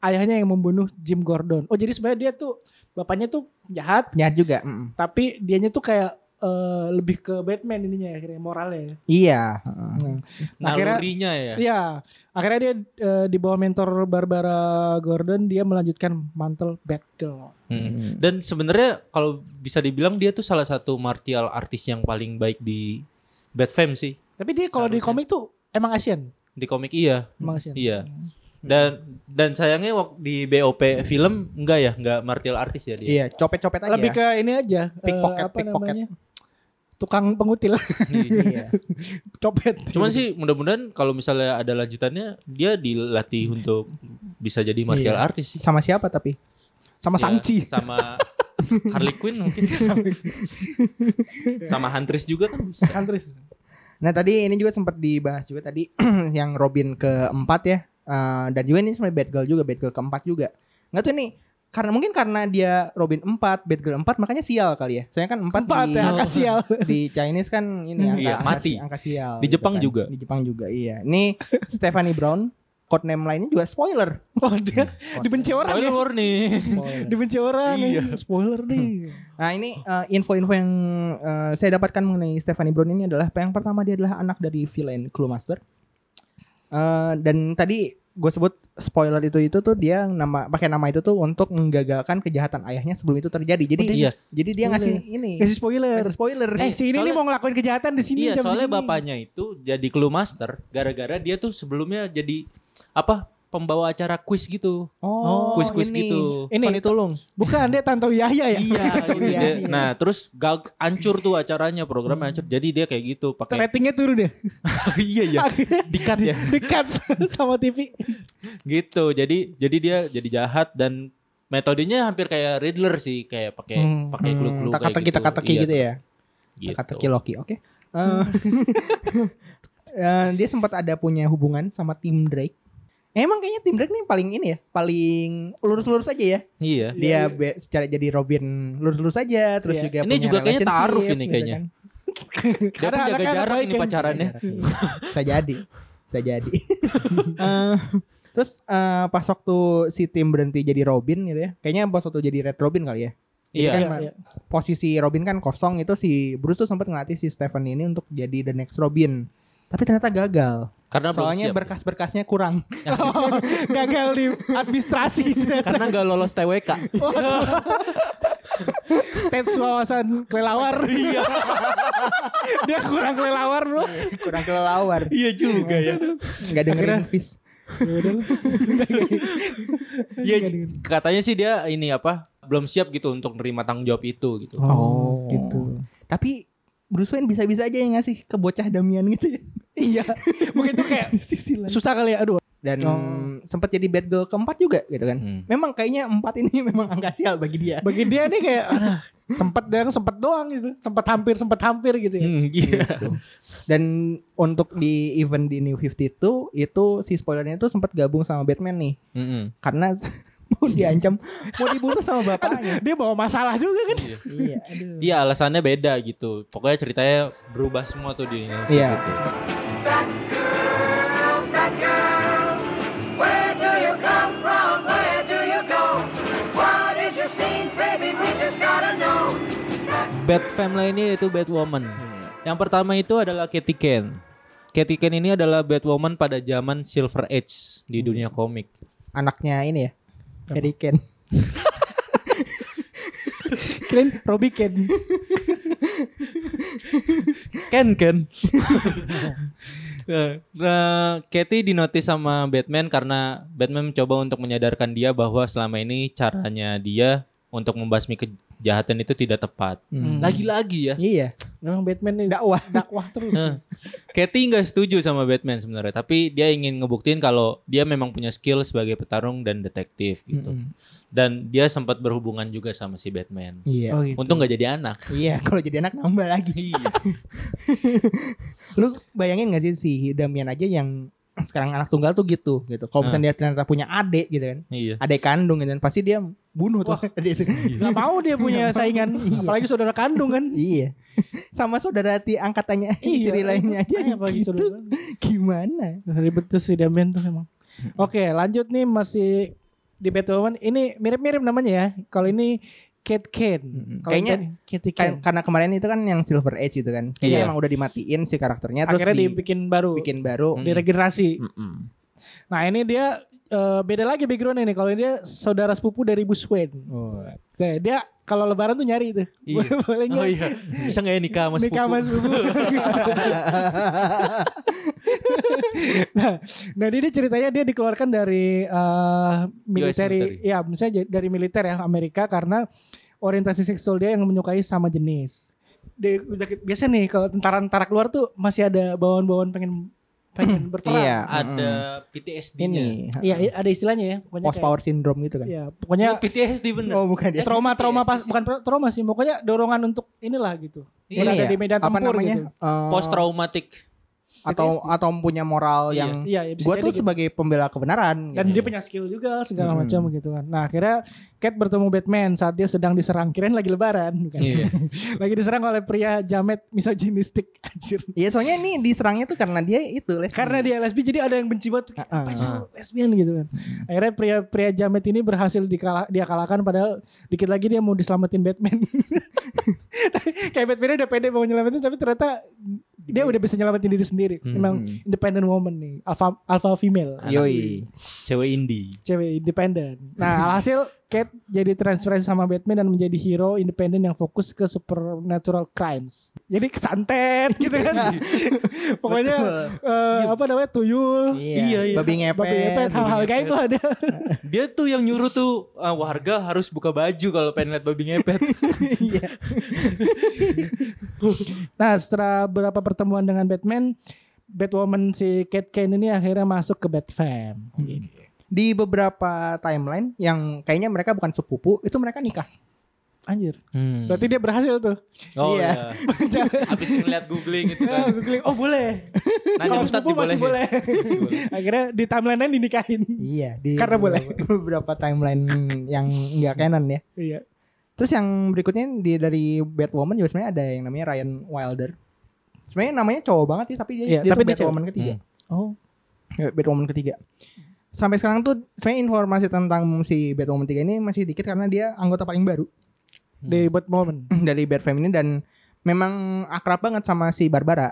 ayahnya yang membunuh Jim Gordon. Oh, jadi sebenarnya dia tuh bapaknya tuh jahat,
Nyat juga. mm.
tapi dianya tuh kayak eh, lebih ke Batman ininya ya, akhirnya moralnya.
Iya. heeh.
Akhirnya-
Nalurinya ya.
Iya, akhirnya dia eh, di bawah mentor Barbara Gordon dia melanjutkan mantel Batgirl.
Hmm. Dan sebenarnya kalau bisa dibilang dia tuh salah satu martial artis yang paling baik di Batfam sih.
Tapi dia kalau di
Seharusnya.
komik tuh emang Asian,
Di komik iya.
emang Asian.
Iya. Dan dan sayangnya waktu di BOP film enggak ya, enggak martial artis ya dia.
Iya, copet-copet aja.
Lebih ke ini aja, eh,
Pickpocket,
apa
pickpocket.
namanya? Tukang pengutil.
Iya.
copet.
Cuman sih mudah-mudahan kalau misalnya ada lanjutannya dia
Hmm.
dilatih untuk bisa jadi
Iya.
martial artis sih.
Sama siapa tapi?
sama
Ya,
Sangchi.
sama Harley Quinn mungkin. sama Huntress juga kan bisa.
Santris.
Nah tadi ini juga sempat dibahas juga tadi yang Robin keempat ya Eh, dan juga ini sebenarnya Batgirl juga Batgirl keempat juga nggak tuh nih karena mungkin karena dia Robin 4 Batgirl 4 makanya sial kali ya saya kan 4
Empat
di,
ya, kasial.
di Chinese kan ini angka,
Iya,
angka-
mati.
angka sial
Di Jepang
kan.
juga.
di Jepang juga iya ini Stephanie Brown codename lainnya juga spoiler
Oh dia dibenci orang
Spoiler
ya.
warning.
Spoiler.
Dibenci orang
Iya.
nih. Spoiler nih.
Nah ini eh, info-info yang eh, saya dapatkan mengenai Stephanie Brown ini adalah yang pertama dia adalah anak dari villain Cluemaster. Eh, dan tadi gue sebut spoiler itu itu tuh dia nama pakai nama itu tuh untuk menggagalkan kejahatan ayahnya sebelum itu terjadi. Jadi
Iya.
jadi dia ngasih ini
Kasih spoiler.
ngasih spoiler.
Eh si ini nih
Soalnya-
mau ngelakuin kejahatan di sini
Iya,
jam
soalnya
segini.
bapaknya itu jadi clue master gara-gara dia tuh sebelumnya jadi apa? pembawa acara kuis gitu.
oh,
kuis-kuis
ini.
gitu.
Ini
Ini-
Sony Tulung.
Bukan dia Tanto Yahya ya.
Iya, gitu
Iya,
dia.
iya.
Nah, terus gag hancur tuh acaranya, programnya hancur. Jadi dia kayak gitu pakai
Ratingnya turun ya.
iya ya,
Akhirnya
dikat ya.
dekat sama TV.
Gitu. Jadi jadi dia jadi jahat dan metodenya hampir kayak Riddler sih kayak pakai
Hmm.
pakai clue-clue
tak kata
kayak
kita kata
Iya,
gitu ya
gitu.
kata Loki oke Eh, eh, dia sempat ada punya hubungan sama tim Drake Eh, emang kayaknya tim Drake nih paling ini ya paling lurus-lurus aja ya
Iya.
dia be- secara jadi Robin lurus-lurus aja terus
Iya.
juga
Ini
punya
juga kayaknya
relationship
taaruf ini
gitu
kayaknya.
kan.
Iya.
Iya,
Dia pun jaga
anaknya
jarak
anak
ini
baik, kan?
pacarannya.
bisa jadi bisa jadi Eh, terus eh, pas waktu si tim berhenti jadi Robin gitu ya kayaknya pas waktu jadi Red Robin kali ya
Iya.
kan
Iya,
ma-
iya.
posisi Robin kan kosong itu si Bruce tuh sempat ngelatih si Stephen ini untuk jadi the next Robin tapi ternyata gagal
Karena belum
soalnya
siap.
berkas-berkasnya kurang
gagal di administrasi ternyata.
karena nggak lolos TWK.
tes wawasan kelelawar
Iya.
dia kurang kelelawar bro
kurang kelelawar
Iya juga ya.
nggak dengerin Fis
Ya udah lah.
Iya katanya sih dia ini apa? Belum siap gitu untuk nerima tanggung jawab itu gitu.
Oh, gitu.
tapi Bruce Wayne bisa-bisa aja yang ngasih ke bocah Damian gitu ya
iya mungkin tuh kayak
sisi lain
susah kali ya aduh
dan
Oh.
sempat jadi bad girl keempat juga gitu kan
Hmm.
memang kayaknya empat ini memang angka sial bagi dia
bagi dia nih kayak aduh, sempet doang sempet doang gitu sempet hampir sempet hampir gitu ya
Hmm, iya.
Dan untuk di event di New 52 itu si spoilernya itu sempat gabung sama Batman nih
Mm-mm.
karena mau diancam, mau dibunuh sama bapaknya.
dia bawa masalah juga kan
iya, aduh.
Iya alasannya beda gitu. Pokoknya ceritanya berubah semua tuh di ini.
Iya.
Gitu.
Where do you come from? Where do you go? What is your scene, baby? We just gotta know.
Bad Family ini itu Batwoman. Yang pertama itu adalah Katie Kane. Katie Kane ini adalah Batwoman pada zaman Silver Age di dunia komik.
Anaknya ini ya. Harry Kane.
keren Robby Ken
Ken Ken. nah, Katie dinotis sama Batman karena Batman mencoba untuk menyadarkan dia bahwa selama ini caranya dia untuk membasmi kejahatan itu tidak tepat.
Hmm.
Lagi-lagi ya.
Iya,
memang Batman nih
dakwah.
dakwah terus
Eh, Katie nggak setuju sama Batman sebenarnya, tapi dia ingin ngebuktiin kalau dia memang punya skill sebagai petarung dan detektif gitu.
Mm-mm.
Dan dia sempat berhubungan juga sama si Batman.
Iya.
Oh, gitu.
Untung nggak jadi anak.
Iya, kalau jadi anak nambah lagi.
Iya.
Lu bayangin gak sih si Damian aja yang sekarang anak tunggal tuh gitu gitu. Kalau misalnya dia ternyata punya adik gitu kan,
iya.
adik kandung gitu kan, pasti dia bunuh tuh adik itu.
Gak mau dia punya saingan apalagi saudara kandung kan
Iya. Sama saudara ti angkatannya
Iya.
tiri lainnya aja
Iya, apalagi
gitu.
saudara kandung.
Gimana?
Ribet tuh si Damian tuh emang. Oke, lanjut nih masih di Batwoman. Ini mirip-mirip namanya ya. Kalau ini Kate Kane.
Mm-mm.
Kalau
Kayaknya
ini Katie
Kan-
Kane.
karena kemarin itu kan yang Silver Age gitu kan. Kayaknya
Iya.
emang udah dimatiin si karakternya terus
Akhirnya
dibikin
dibikin baru,
baru.
Hmm.
diregenerasi.
Mm-mm.
Nah, ini dia eh, beda lagi backgroundnya nih. Kalau ini dia saudara sepupu dari Bruce Wayne.
Oh.
Nah, dia kalau lebaran tuh nyari tuh.
Iya.
Boleh
Oh
nggak?
iya. Bisa nggak ya nikah sama
Nikah sama
sepupu?
sepupu. nah, nah ini ceritanya dia dikeluarkan dari eh, military,
military.
ya misalnya j- dari militer ya Amerika karena orientasi seksual dia yang menyukai sama jenis. Dia udah ke- biasa nih kalau tentara-tentara keluar tuh masih ada bawaan-bawaan pengen pengen berperang.
Iya.
Ada
mm-mm.
PTSD-nya.
ini
Iya, i- ada istilahnya ya. Pokoknya
post power syndrome gitu
kayak-
kan.
ya,
Ini
pokoknya
PTSD bener.
Oh, bukan ya.
trauma-trauma
PTSD
pas
sih.
bukan pro- trauma sih, pokoknya dorongan untuk inilah gitu.
Iya,
Berada
ya,
di medan
apa
tempur
namanya?
gitu.
Eh,
Post traumatic.
atau atau punya moral
Iya.
yang
Iya, ya bisa
gue
jadi
tuh
gitu.
sebagai pembela kebenaran
dan
gitu.
dia punya skill juga segala
Hmm.
macam gitu kan. Nah akhirnya Cat bertemu Batman saat dia sedang diserang kirain lagi lebaran bukan?
Iya.
lagi diserang oleh pria jamet misoginistik anjir.
Iya, soalnya ini diserangnya tuh karena dia itu lesbian.
Karena dia lesbi jadi ada yang benci banget kayak,
Ah, ah,
apa sih lu lesbian gitu kan. Akhirnya pria-pria jamet ini berhasil dikala, dia kalahkan padahal dikit lagi dia mau diselamatin Batman. kayak Batman udah pede mau nyelamatin tapi ternyata dia udah bisa nyelamatin diri sendiri.
Hmm.
Memang independent woman nih, alpha alpha
Ah,
female.
Yoi.
Cewek indie.
cewek independen. Nah, alhasil Kate jadi transferasi sama Batman dan menjadi hero independen yang fokus ke supernatural crimes. Jadi kesantet gitu kan. Pokoknya eh, apa namanya? tuyul.
Iya,
iya.
babi ngepet,
Babi ngepet, hal-hal gaib lah ada.
Dia tuh yang nyuruh tuh ah, warga harus buka baju kalau pengen lihat babi ngepet.
Iya.
Nah, setelah beberapa pertemuan dengan Batman, Batwoman si Kate Kane ini akhirnya masuk ke Batfam. Gitu.
di beberapa timeline yang kayaknya mereka bukan sepupu itu mereka nikah
Anjir.
Hmm.
Berarti dia berhasil tuh.
oh
iya.
iya. Habis ngeliat googling itu
Ah,
kan.
googling, oh boleh.
Nanya
Kalau
Ustaz
sepupu masih
dibolehin.
boleh.
Masih boleh.
Akhirnya di timeline-nya dinikahin.
iya di
Karena boleh.
beberapa- beberapa timeline yang nggak canon ya
Iya.
terus yang berikutnya di dari Batwoman juga sebenarnya ada yang namanya Ryan Wilder sebenarnya namanya cowok banget sih tapi dia,
Iya,
dia
tapi
tuh
dia
Batwoman ketiga
Oh.
Ya, Batwoman ketiga sampai sekarang tuh sebenarnya informasi tentang si Batwoman 3 ini masih dikit karena dia anggota paling baru
Hmm.
Di buat momen.
dari Batfam ini dan memang akrab banget sama si Barbara.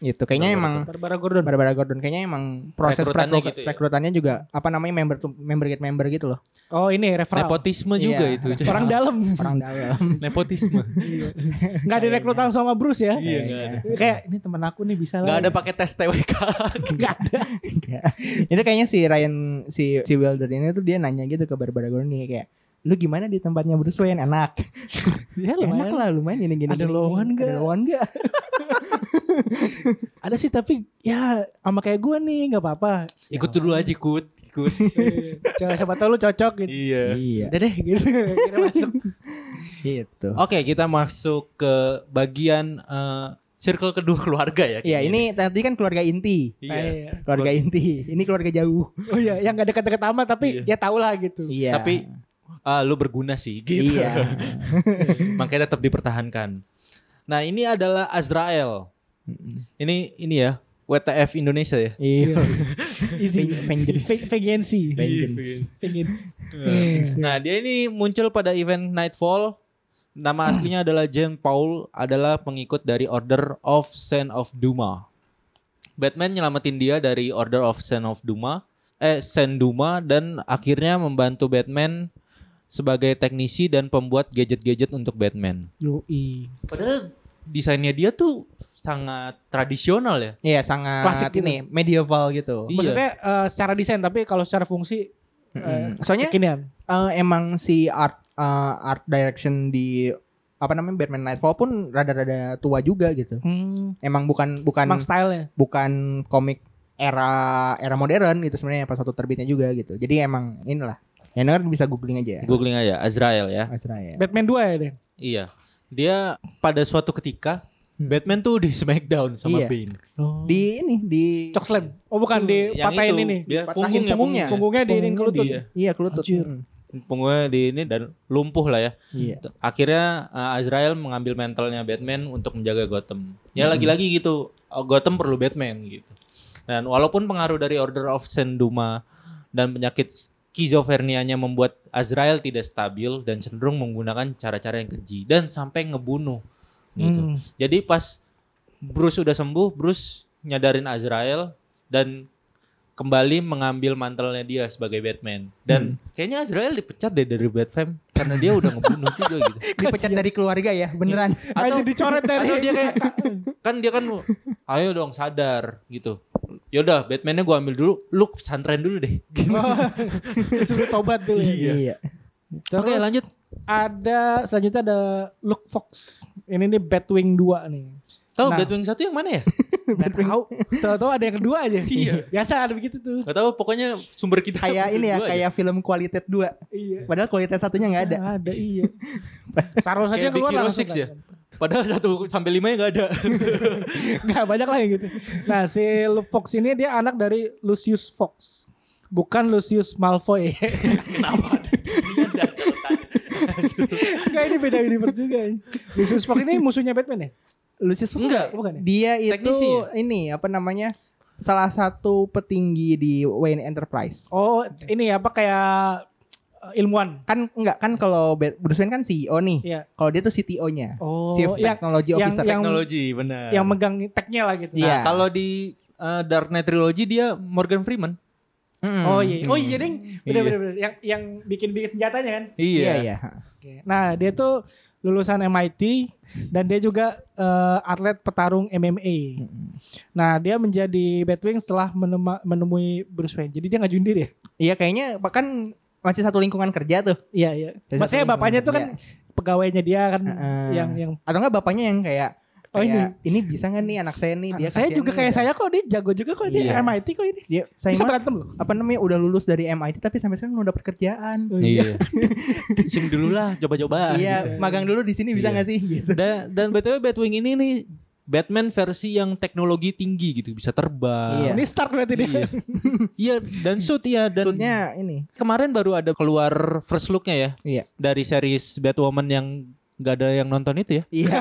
Gitu. Kayaknya
Barbara
emang
Barbara Gordon.
Barbara Gordon kayaknya emang proses
Rekrutannya
perekru-
gitu ya?
rekrutannya juga apa namanya member to- member get member gitu loh.
Oh ini referral.
Nepotisme juga
Iya.
itu.
Orang dalam.
Orang dalam.
Nepotisme.
Nggak direkrut langsung sama Bruce ya.
Iya, nggak ada.
Kayak ini temen aku nih bisa
Gak
lah.
ada pakai tes TWK.
Nggak ada.
Enggak. Itu kayaknya si Ryan si si Wilder ini tuh dia nanya gitu ke Barbara Gordon dia kayak lu gimana di tempatnya Bruce Wayne enak
Iya,
Ya
enak
lumayan.
lah lumayan ini gini
Ada
gini,
lowongan
gini. ada
nggak?
lowongan nggak
Ada sih tapi ya sama kayak gue nih nggak apa-apa.
Ikut dulu aja ikut. Ikut.
Coba siapa tau lu cocok gitu.
iya.
iya
Udah deh gitu. Akhirnya masuk.
gitu
Oke kita masuk ke bagian eh, circle kedua keluarga ya.
iya
kayaknya.
ini tadi kan keluarga inti
Iya.
Nah, iya.
keluarga inti ini keluarga jauh
Oh iya, yang gak deket-deket amat tapi ya tau lah gitu.
iya
Tapi ah, lu berguna sih gitu.
iya
Makanya tetap dipertahankan. Nah ini adalah Azrael. Ini ini ya WTF Indonesia ya.
Iya.
Easy.
Veng- vengeance.
Ve-
Iya,
Vengeance.
Vengeance.
Vengeance.
Nah dia ini muncul pada event Nightfall. Nama aslinya adalah Jean Paul adalah pengikut dari Order of Saint of Duma. Batman nyelamatin dia dari Order of Saint of Duma, eh Saint Duma dan akhirnya membantu Batman sebagai teknisi dan pembuat gadget-gadget untuk Batman.
Yoi.
Padahal desainnya dia tuh sangat tradisional ya.
Iya, sangat
Klasik gitu.
ini medieval gitu.
Iya.
Maksudnya eh, secara desain tapi kalau secara fungsi eh,
Mm-mm.
Iya.
Soalnya
kekinian.
eh, emang si art eh, art direction di apa namanya Batman Nightfall pun rada-rada tua juga gitu.
Hmm,
Emang bukan
Kan.
bukan
emang stylenya.
bukan komik era era modern gitu sebenarnya pas waktu terbitnya juga gitu. Jadi emang inilah. Yang denger bisa googling aja. ya.
Googling aja Azrael ya.
Azrael.
Batman 2 ya deh.
Iya. Dia pada suatu ketika
Hmm.
Batman tuh di Smackdown sama
Iya.
Bane.
Di ini di
Cok slam. Oh
Itu,
bukan di
yang
patahin
itu,
ini.
Dia
Dipatahin
punggungnya,
punggungnya.
punggungnya.
Punggungnya di ini
punggungnya
ke lutut.
di- Iya, ke lutut.
Anjir.
Mm.
Punggungnya di ini dan lumpuh lah ya.
Iya.
Akhirnya uh, Azrael mengambil mentalnya Batman untuk menjaga Gotham. Ya lagi-lagi gitu, uh, Gotham perlu Batman gitu. Dan walaupun pengaruh dari Order of Senduma dan penyakit skizofrenianya membuat Azrael tidak stabil dan cenderung menggunakan cara-cara yang keji dan sampai ngebunuh gitu.
Hmm.
Jadi pas Bruce udah sembuh, Bruce nyadarin Azrael dan kembali mengambil mantelnya dia sebagai Batman.
Hmm.
Dan kayaknya Azrael dipecat deh dari Batman karena dia udah ngebunuh juga gitu.
Dipecat dari keluarga ya, beneran.
Aja dicoret dari.
Atau dia kayak kan dia kan ayo dong sadar gitu. Yaudah Batmannya gua ambil dulu, lu pesantren dulu deh. Gitu.
Disuruh tobat dulu. ya.
Iya.
Terus
Oke lanjut.
Ada selanjutnya ada Luke Fox. Ini nih Batwing 2 nih.
Tahu
Nah.
Batwing satu yang mana ya?
Gak tahu. Tahu-tahu ada yang kedua aja.
Iya.
Biasa ada begitu tuh.
Gak tahu pokoknya sumber kita
Kayak ini ya,
berdua aja.
kayak film kualitas 2.
Iya.
Padahal kualitas satunya nggak ada.
Ah, ada iya. Saros aja
Kayak Big
keluar kan.
Hero
langsung.
6 ya. Padahal satu sampai lima ya gak ada.
Enggak banyak lah yang gitu. Nah, si Luke Fox ini dia anak dari Lucius Fox. Bukan Lucius Malfoy.
Kenapa?
Enggak ini beda universe juga. Lucius Fox ini musuhnya Batman ya?
Lucius Fox
Enggak,
ya?
bukan ya?
Dia itu
Teknisi ya?
ini apa namanya? Salah satu petinggi di Wayne Enterprise.
Oh, ini apa kayak eh, ilmuwan.
Kan enggak kan kalau Bat- Bruce Wayne kan CEO nih.
Iya.
Kalau dia tuh CTO-nya.
Oh,
Chief
yang-
Technology
yang-
Officer.
yang-
Teknologi benar.
Yang megang tag-nya lah gitu.
Nah,
Iya.
kalau di eh, Dark Knight Trilogy dia Morgan Freeman.
Mm-mm.
Oh iya. Oh iya, Ding. Bener,
Iya.
bener, bener. Yang yang bikin-bikin senjatanya kan?
Iya
Iya.
iya.
Oke. Nah, dia tuh lulusan MIT dan dia juga eh, atlet petarung MMA. Nah, dia menjadi Batwing setelah menema- menemui Bruce Wayne. Jadi dia ngajuin diri ya?
Iya kayaknya bahkan masih satu lingkungan kerja tuh.
Iya, iya.
Jadi satu
Maksudnya
lingkungan,
bapaknya tuh kan pegawainya dia kan
Iya. Heeh.
yang yang
Atau enggak Eh, bapaknya yang kayak
Oh, ini.
Kayak, ini bisa nggak nih anak saya nih dia
saya
kasihan
juga
nih,
kayak
gitu.
saya kok dia jago juga kok dia
Iya.
MIT kok ini.
Dia- saya
Bisa
mah,
berantem loh.
apa namanya udah lulus dari MIT tapi sampai sekarang belum dapat kerjaan.
Oh,
Iya. Sim dulu lah,
Ah,
coba-coba.
iya, magang dulu di sini bisa
Iya.
nggak sih gitu.
Dan, dan btw Batwing ini nih Batman versi yang teknologi tinggi gitu, bisa terbang.
Iya.
Ini start berarti dia.
Iya. Iya, dan suit ya dan
Maksudnya ini.
kemarin baru ada keluar first looknya ya
Iya.
dari series Batwoman yang gak ada yang nonton itu ya.
Iya.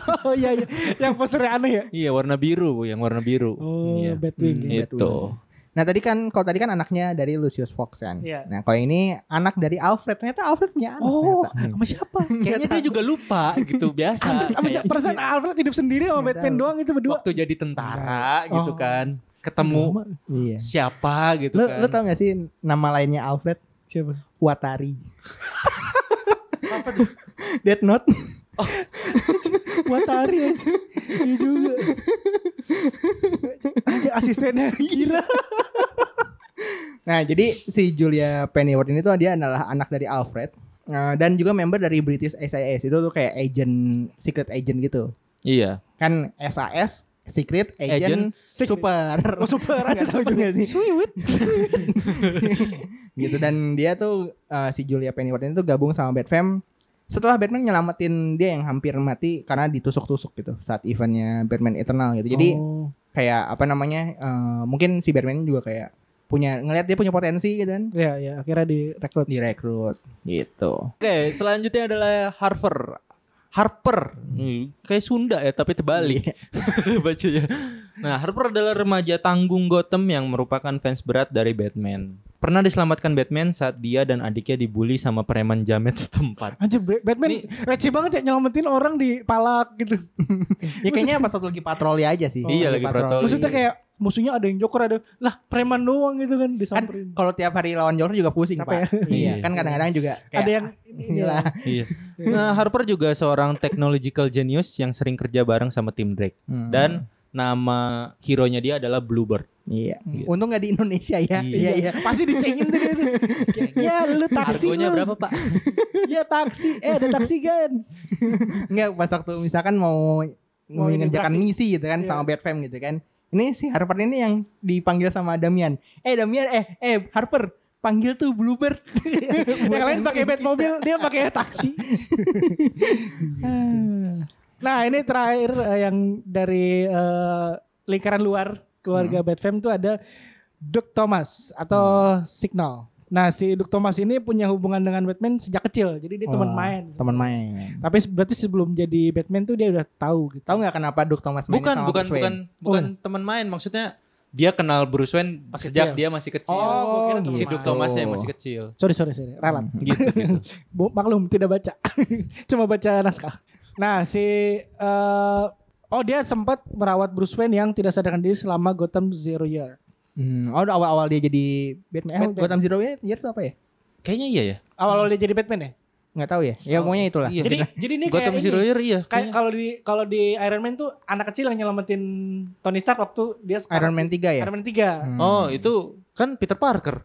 oh iya iya. Yang posternya aneh ya.
Iya, warna biru, yang warna biru.
Oh,
iya.
Batwing.
Hmm,
ya.
Batwing.
Itu.
Nah, tadi kan kalau tadi kan anaknya dari Lucius Fox kan.
Iya.
Nah, kalau ini anak dari Alfred. Ternyata Alfred punya anak.
Oh,
ternyata.
sama siapa?
Kayaknya dia juga lupa gitu biasa.
Sama
Kayak
siapa? Perasaan Alfred hidup sendiri sama
Nggak
Batman
Iya. tahu.
doang itu berdua.
waktu jadi tentara gitu
Oh.
kan, ketemu
Iya.
siapa gitu
Lu
kan.
lu tau gak sih nama lainnya Alfred?
Siapa?
Watari. Dead Note.
Watari aja. Iya juga. Aja asistennya Kira.
Nah, jadi si Julia Pennyworth ini tuh dia adalah anak dari Alfred eh, dan juga member dari British SAS itu tuh kayak agent secret agent gitu.
Iya.
Kan SAS secret
Agent,
agent, super.
Oh, super.
Nggak tahu juga sih.
Sweet.
gitu dan dia tuh eh, si Julia Pennyworth ini tuh gabung sama Batman setelah Batman nyelamatin dia yang hampir mati karena ditusuk-tusuk gitu saat eventnya Batman Eternal gitu. Jadi
Oh.
kayak apa namanya eh, mungkin si Batman juga kayak punya ngelihat dia punya potensi gitu kan
Ya ya akhirnya direkrut.
direkrut gitu.
Oke, selanjutnya adalah Harper. Harper, Hmm, kayak Sunda ya tapi terbalik bacanya. Nah, Harper adalah remaja tanggung Gotham yang merupakan fans berat dari Batman. Pernah diselamatkan Batman saat dia dan adiknya dibully sama preman jamet setempat.
Anjir Batman
Nih.
receh banget ya nyelamatin orang di palak gitu.
Ya kayaknya pas waktu lagi patroli aja sih.
Iya, lagi patroli.
Maksudnya kayak musuhnya ada yang joker ada lah preman doang gitu kan
kan
disamperin.
kalau tiap hari lawan Joker juga pusing
Capek
pak.
Iya.
Iya, kan kadang-kadang juga kayak
ada yang
inilah.
iya. Nah, Harper juga seorang technological genius yang sering kerja bareng sama tim Drake.
Hmm.
Dan nama hero-nya dia adalah Bluebird.
iya.
Gitu.
Untung nggak di Indonesia ya.
Iya.
Iya iya.
Pasti dicengin tuh dia tuh. Ya lu taksi
Harganya
lu.
berapa, Pak?
Ya taksi. Eh ada taksi kan.
Nggak pas waktu misalkan mau
Mau
mengerjakan
ini
misi gitu kan
Iya.
sama Batman gitu kan. Ini si Harper ini yang dipanggil sama Damian. Eh Damian eh eh Harper panggil tuh Bluebird.
yang lain pakai Batmobile, dia pakai taksi. Ah. nah, ini terakhir eh, yang dari eh, lingkaran luar keluarga Batfam itu ada Duke Thomas atau Signal. Nah, si Duke Thomas ini punya hubungan dengan Batman sejak kecil. Jadi dia teman
Wah,
main.
Oh, Teman main.
Tapi se- berarti sebelum jadi Batman tuh dia udah tahu gitu.
Tahu nggak kenapa Duk Thomas main
Bukan,
sama
bukan,
Bruce Wayne?
bukan, bukan
Oh.
teman main. Maksudnya dia kenal Bruce Wayne
Pas
sejak
kecil.
dia masih
Oh,
kecil.
gua kira teman
si Duke
gitu.
Thomas yang masih kecil.
Sorry, sorry, sorry. Ralat.
Gitu, gitu.
Bu, maklum tidak baca. Cuma baca naskah. Nah, si eh, oh dia sempat merawat Bruce Wayne yang tidak sadarkan diri selama Gotham Zero Year.
Hmm, oh awal-awal dia jadi Batman. Eh,
Batman.
Gotham Zero Year year itu apa ya?
Kayaknya iya ya.
Awal dia jadi Batman ya?
Nggak tahu ya. Ya pokoknya itulah.
Iya,
jadi jadi ini kayak
Gotham
ini.
Zero Year iya.
Kayak kalau di kalau di Iron Man tuh anak kecil yang nyelamatin Tony Stark waktu dia
Iron
sekarang
Man 3 ya?
Iron Man 3.
Hmm.
Oh, itu kan Peter Parker.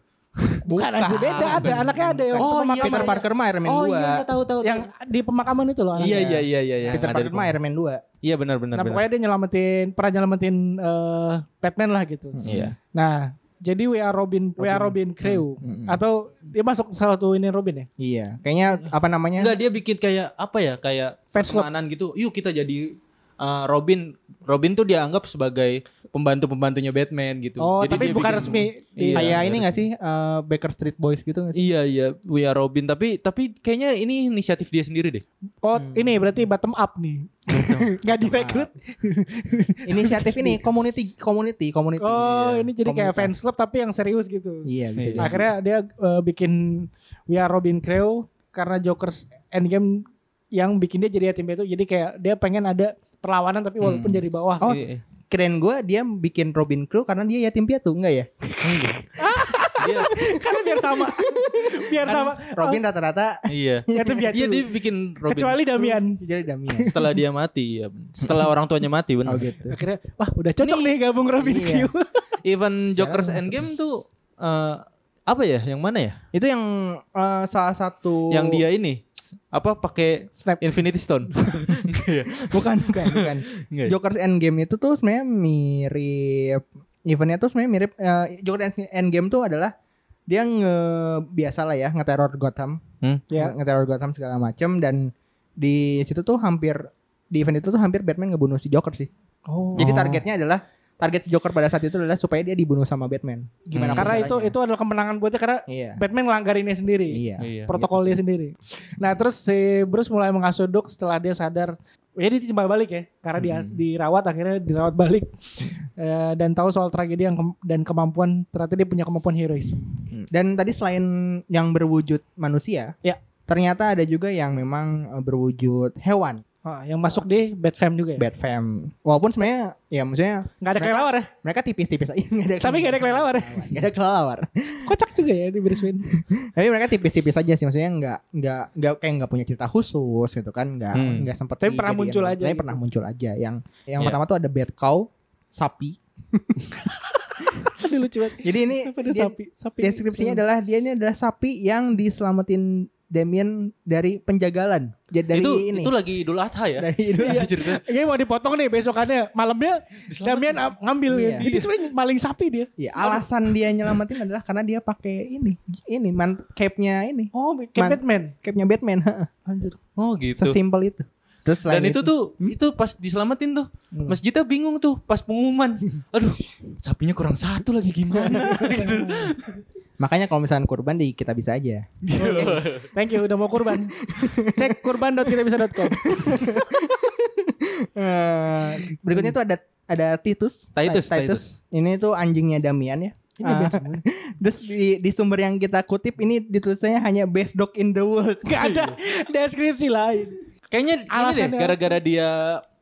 Bukan aja beda ada anaknya ada yang waktu
Oh, iya,
pemakaman-
Peter Parker mah Iron Man
Oh,
2.
Ah,
Iya, tahu tahu.
yang di pemakaman itu loh
Iya
anaknya.
iya iya iya. yang
Peter
ada
Parker
di-
mah Iron Man 2.
Iya benar benar
Nah,
benar.
pokoknya dia nyelamatin pernah nyelamatin eh, Batman lah gitu.
Iya. Hmm.
Nah, jadi We Are Robin, We Are Robin Crew
Mm-mm.
atau dia masuk salah satu ini Robin ya?
Iya. Kayaknya apa namanya?
Enggak iya. dia bikin kayak apa ya? Kayak
Fans club.
pertemanan gitu. Yuk kita jadi uh, Robin. Robin tuh dianggap sebagai pembantu-pembantunya Batman gitu.
Oh,
Jadi
tapi
dia
bukan
bikin-
resmi.
Iya,
Kayak ini
benar.
gak sih eh, Baker Street Boys gitu gak sih?
Iya iya, We Are Robin tapi tapi kayaknya ini inisiatif dia sendiri deh.
Oh,
Hmm.
ini berarti bottom up nih. Gak direkrut.
Iya.
Inisiatif ini community community community.
Oh,
Iya.
ini jadi kayak
Komunitas.
fans club tapi yang serius gitu.
Iya, bisa
Iya.
jadi.
Akhirnya dia eh, bikin We Are Robin Crew karena Joker's Endgame yang bikin dia jadi tim itu jadi kayak dia pengen ada perlawanan tapi walaupun
Hmm.
dari bawah.
Oh.
Iya, iya.
keren gue dia bikin Robin Crew karena dia yatim piatu enggak ya?
Enggak. Dia-
Karena biar sama. biar
Kan
sama.
Robin rata-rata
Iya.
Ya, itu biar
Iya
dulu.
dia bikin Robin
Kecuali Damian.
jadi Damian.
setelah dia mati ya. Setelah orang tuanya mati
Oh
benar.
gitu.
Akhirnya wah udah cocok nih gabung Robin
Iya.
Crew.
Even
Secara
Joker's
langsung.
Endgame tuh eh, apa ya? Yang mana ya?
Itu yang eh, salah satu
Yang dia ini apa pakai
Snap.
Infinity Stone. Iya.
bukan bukan bukan
Nggak ya?
Joker's Endgame itu tuh sebenarnya mirip eventnya tuh sebenarnya mirip eh, Joker's Endgame tuh adalah dia nge biasa lah ya ngeteror Gotham
Hmm?
Ya.
ngeteror Gotham segala macem dan di situ tuh hampir di event itu tuh hampir Batman ngebunuh si Joker sih
Oh.
jadi targetnya adalah target si Joker pada saat itu adalah supaya dia dibunuh sama Batman gimana
Hmm.
pun
karena itu
caranya.
itu adalah kemenangan buatnya karena
iya
Batman ngelanggarinnya sendiri.
iya
Iya.
protokol dia sendiri. Nah terus si Bruce mulai mengasuh Doc setelah dia sadar, ya dia timbal balik ya, karena dia dirawat akhirnya dirawat balik Eh, dan tahu soal tragedi yang kem- dan kemampuan ternyata dia punya kemampuan heroisme.
Dan tadi selain yang berwujud manusia,
Hmm. Ya.
ternyata ada juga yang memang eh, berwujud hewan,
Ah, yang masuk di Batfam juga ya.
bad fam. Walaupun sebenarnya ya maksudnya
Nggak ada kelelawar ya,
mereka tipis-tipis aja, nggak ada
tapi nggak ada kelelawar ya.
nggak ada kelelawar.
Kocak juga ya di Bruce Wayne.
Tapi mereka tipis-tipis aja sih, maksudnya nggak nggak nggak kayak nggak punya cerita khusus gitu kan, nggak
Hmm.
nggak sempet.
Tapi pernah
dijadiin-
muncul aja
Tapi
gitu. Ya.
pernah muncul aja. Yang yang
Iya.
pertama tuh ada bad cow, sapi.
Aduh lucu banget.
Jadi ini
Pada
dia-
sapi, sapi.
deskripsinya adalah dia ini adalah sapi yang diselamatin Damien dari penjagalan. Jadi dari
itu
ini.
itu lagi Idul Adha ya.
dari Idul
Iya. Cerita.
Ini mau dipotong nih besokannya malamnya Damian am- ngambil
Iya.
ya. Jadi sebenarnya maling sapi dia.
Ya, alasan dia nyelamatin adalah karena dia pakai ini, ini man capnya ini,
Oh, kayak
Man-
Batman.
capnya Batman. heeh.
Anjir.
Oh gitu.
Sesimpel itu. Terus
Dan
selain
itu tuh itu pas diselamatin tuh.
Hmm.
Masjidnya bingung tuh pas pengumuman. Aduh, sapinya kurang satu lagi gimana? Gitu.
makanya kalau misalnya kurban di kita bisa aja.
Thank you udah mau kurban. Cek kurban.kitabisa.com.
Berikutnya tuh ada ada Titus.
Titus,
Ti-
Titus.
Ini tuh anjingnya Damian ya.
Ini
Ah,
biasa.
Terus di, di sumber yang kita kutip ini ditulisannya hanya best dog in the world.
Gak ada deskripsi lain.
Kayaknya ini deh
Alasannya apa?
gara-gara dia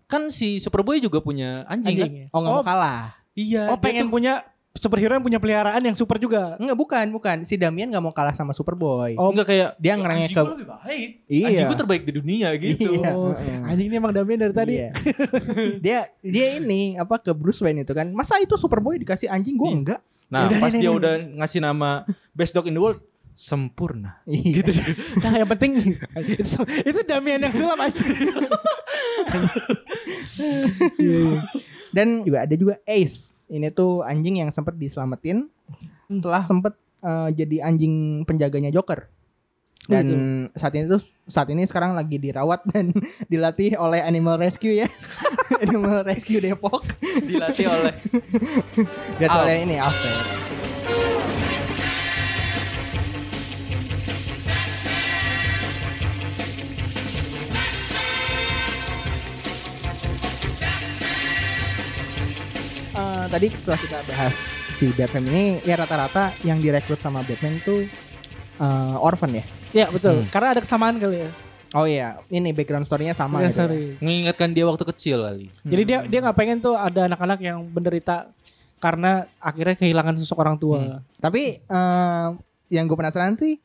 kan si Superboy juga punya anjing, kan?
Anjing. ya?
Oh nggak
Oh,
mau kalah.
Iya,
Nah,
oh,
dia
pengen
tuh-
punya superhero yang punya peliharaan yang super juga.
Enggak bukan bukan si Damian nggak mau kalah sama Superboy.
Oh,
enggak kayak
Dia ngerengek
anjing
ke
gua lebih baik.
Iya.
Anjing gua terbaik di dunia gitu.
Iya.
Oh,
Heeh.
anjing ini emang Damien dari tadi.
Iya. dia dia ini apa ke Bruce Wayne itu kan. Masa itu Superboy dikasih anjing gue
Iya.
enggak?
Nah,
Yaudah,
pas
ini,
dia
ini.
udah ngasih nama Best Dog in the World sempurna.
Iya.
Gitu dia.
Nah, yang penting itu, itu Damien yang sulap aja.
Iya. Dan juga ada juga Ace. Ini tuh anjing yang sempat diselamatin setelah sempat eh, jadi anjing penjaganya Joker. Dan
Gitu.
saat ini tuh saat ini sekarang lagi dirawat dan dilatih oleh Animal Rescue ya. Animal Rescue Depok.
Dilatih oleh
Dilatih
Alf.
oleh ini ya. Alfred. Eh, tadi setelah kita bahas si Batman ini ya rata-rata yang direkrut sama Batman tuh eh, orphan ya.
Iya, betul.
Hmm.
Karena ada kesamaan kali ya.
Oh iya, ini background story-nya sama gitu
Ya,
ya.
sorry.
mengingatkan dia waktu kecil kali.
Jadi dia dia nggak pengen tuh ada anak-anak yang menderita karena akhirnya kehilangan sosok orang tua.
Tapi eh, yang gue penasaran sih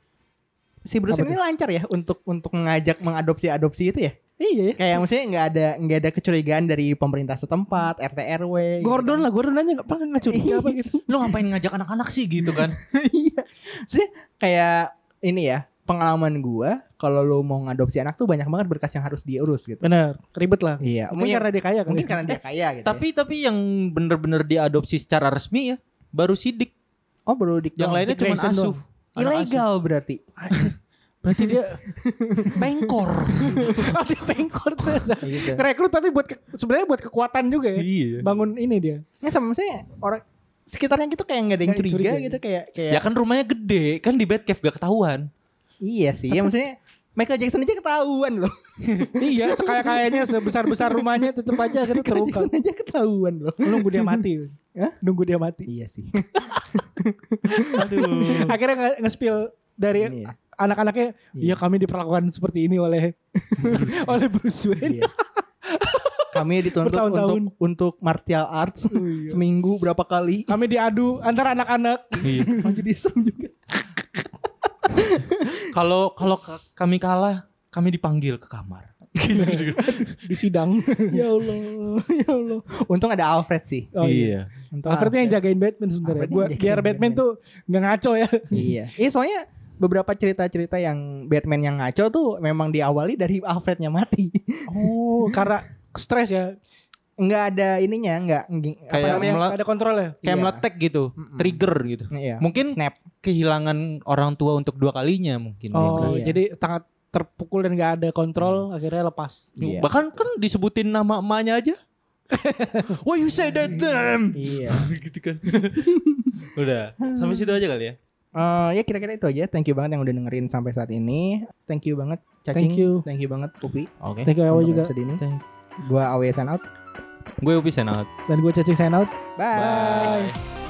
si Bruce
Apa
ini lancar ya untuk untuk mengajak mengadopsi adopsi itu ya.
Iya ya.
Kayak maksudnya nggak ada nggak ada kecurigaan dari pemerintah setempat, RT RW. gitu.
Gordon lah, Gordon aja nggak pengen ngacur apa gitu.
Lu ngapain ngajak anak-anak sih gitu kan?
Iya. Maksudnya kayak ini ya pengalaman gua kalau lu mau ngadopsi anak tuh banyak banget berkas yang harus diurus gitu.
Benar, ribet lah.
Iya.
Mungkin
Mungkin,
karena dia kaya kali.
mungkin karena dia kaya gitu. ya.
tapi tapi yang bener-bener diadopsi secara resmi ya baru sidik.
oh bro dik
Yang
doang.
lainnya cuma
Grayson
asuh.
doang.
Anak asuh.
ilegal berarti.
Berarti dia
Pengkor.
oh, dia pengkor ternyata.
gitu.
Ngerekrut tapi buat ke- sebenarnya buat kekuatan juga ya.
Iya.
Bangun ini dia.
Nggak sama maksudnya orang sekitarnya gitu kayak nggak ada yang
Nggak ada
curiga,
yang curiga.
gitu kayak kayak
Ya kan rumahnya gede, kan di Batcave gak ketahuan.
Iya sih, ya maksudnya Michael Jackson aja ketahuan loh.
iya, sekaya-kayanya sebesar-besar rumahnya tetap aja akhirnya
Michael Jackson
terungkap.
aja ketahuan loh.
Nunggu dia mati.
Hah?
Nunggu dia mati.
Iya sih.
Akhirnya nge- nge-spill dari
Iya.
anak-anaknya, ya kami diperlakukan seperti ini oleh oleh Bruce Wayne.
Iya. Kami dituntut
Bertahun-tahun.
untuk untuk martial arts
Oh, iya.
seminggu berapa kali.
Kami diadu antara anak-anak.
Iya.
Oh, Jadi serem juga.
Kalau kalau ka- kami kalah, kami dipanggil ke kamar.
di sidang.
ya Allah, ya Allah. Untung ada Alfred sih.
Oh, iya.
Untung
Alfred yang jagain Batman sebenarnya.
Alfred yang
Buat
jagain
biar Batman
Batman.
tuh nggak ngaco ya.
Iya. Eh soalnya beberapa cerita-cerita yang Batman yang ngaco tuh memang diawali dari Alfrednya mati.
Oh, karena stres ya.
Nggak ada ininya, nggak
Kayak
Apa namanya?
mele-
Nggak Ada kontrol ya.
kayak
Iya.
meletek gitu,
Mm-mm.
trigger gitu.
Iya.
Mungkin
snap.
kehilangan orang tua untuk dua kalinya mungkin.
Oh,
Iya.
jadi sangat terpukul dan nggak ada kontrol, akhirnya lepas.
Iya.
Bahkan kan disebutin nama emaknya aja. Why you say that them?
Iya.
gitu kan. Udah, sampai situ aja kali ya.
Eh, ya kira-kira itu aja. Thank you banget yang udah dengerin sampai saat ini. Thank you banget Cacing.
Thank you.
Thank you banget Upi.
Oke.
Thank you Ewa
untuk
juga.
episode ini. Gua Awe sign out.
Gue Upi Senat.
Dan gue cacing sign out.
Bye.
Bye.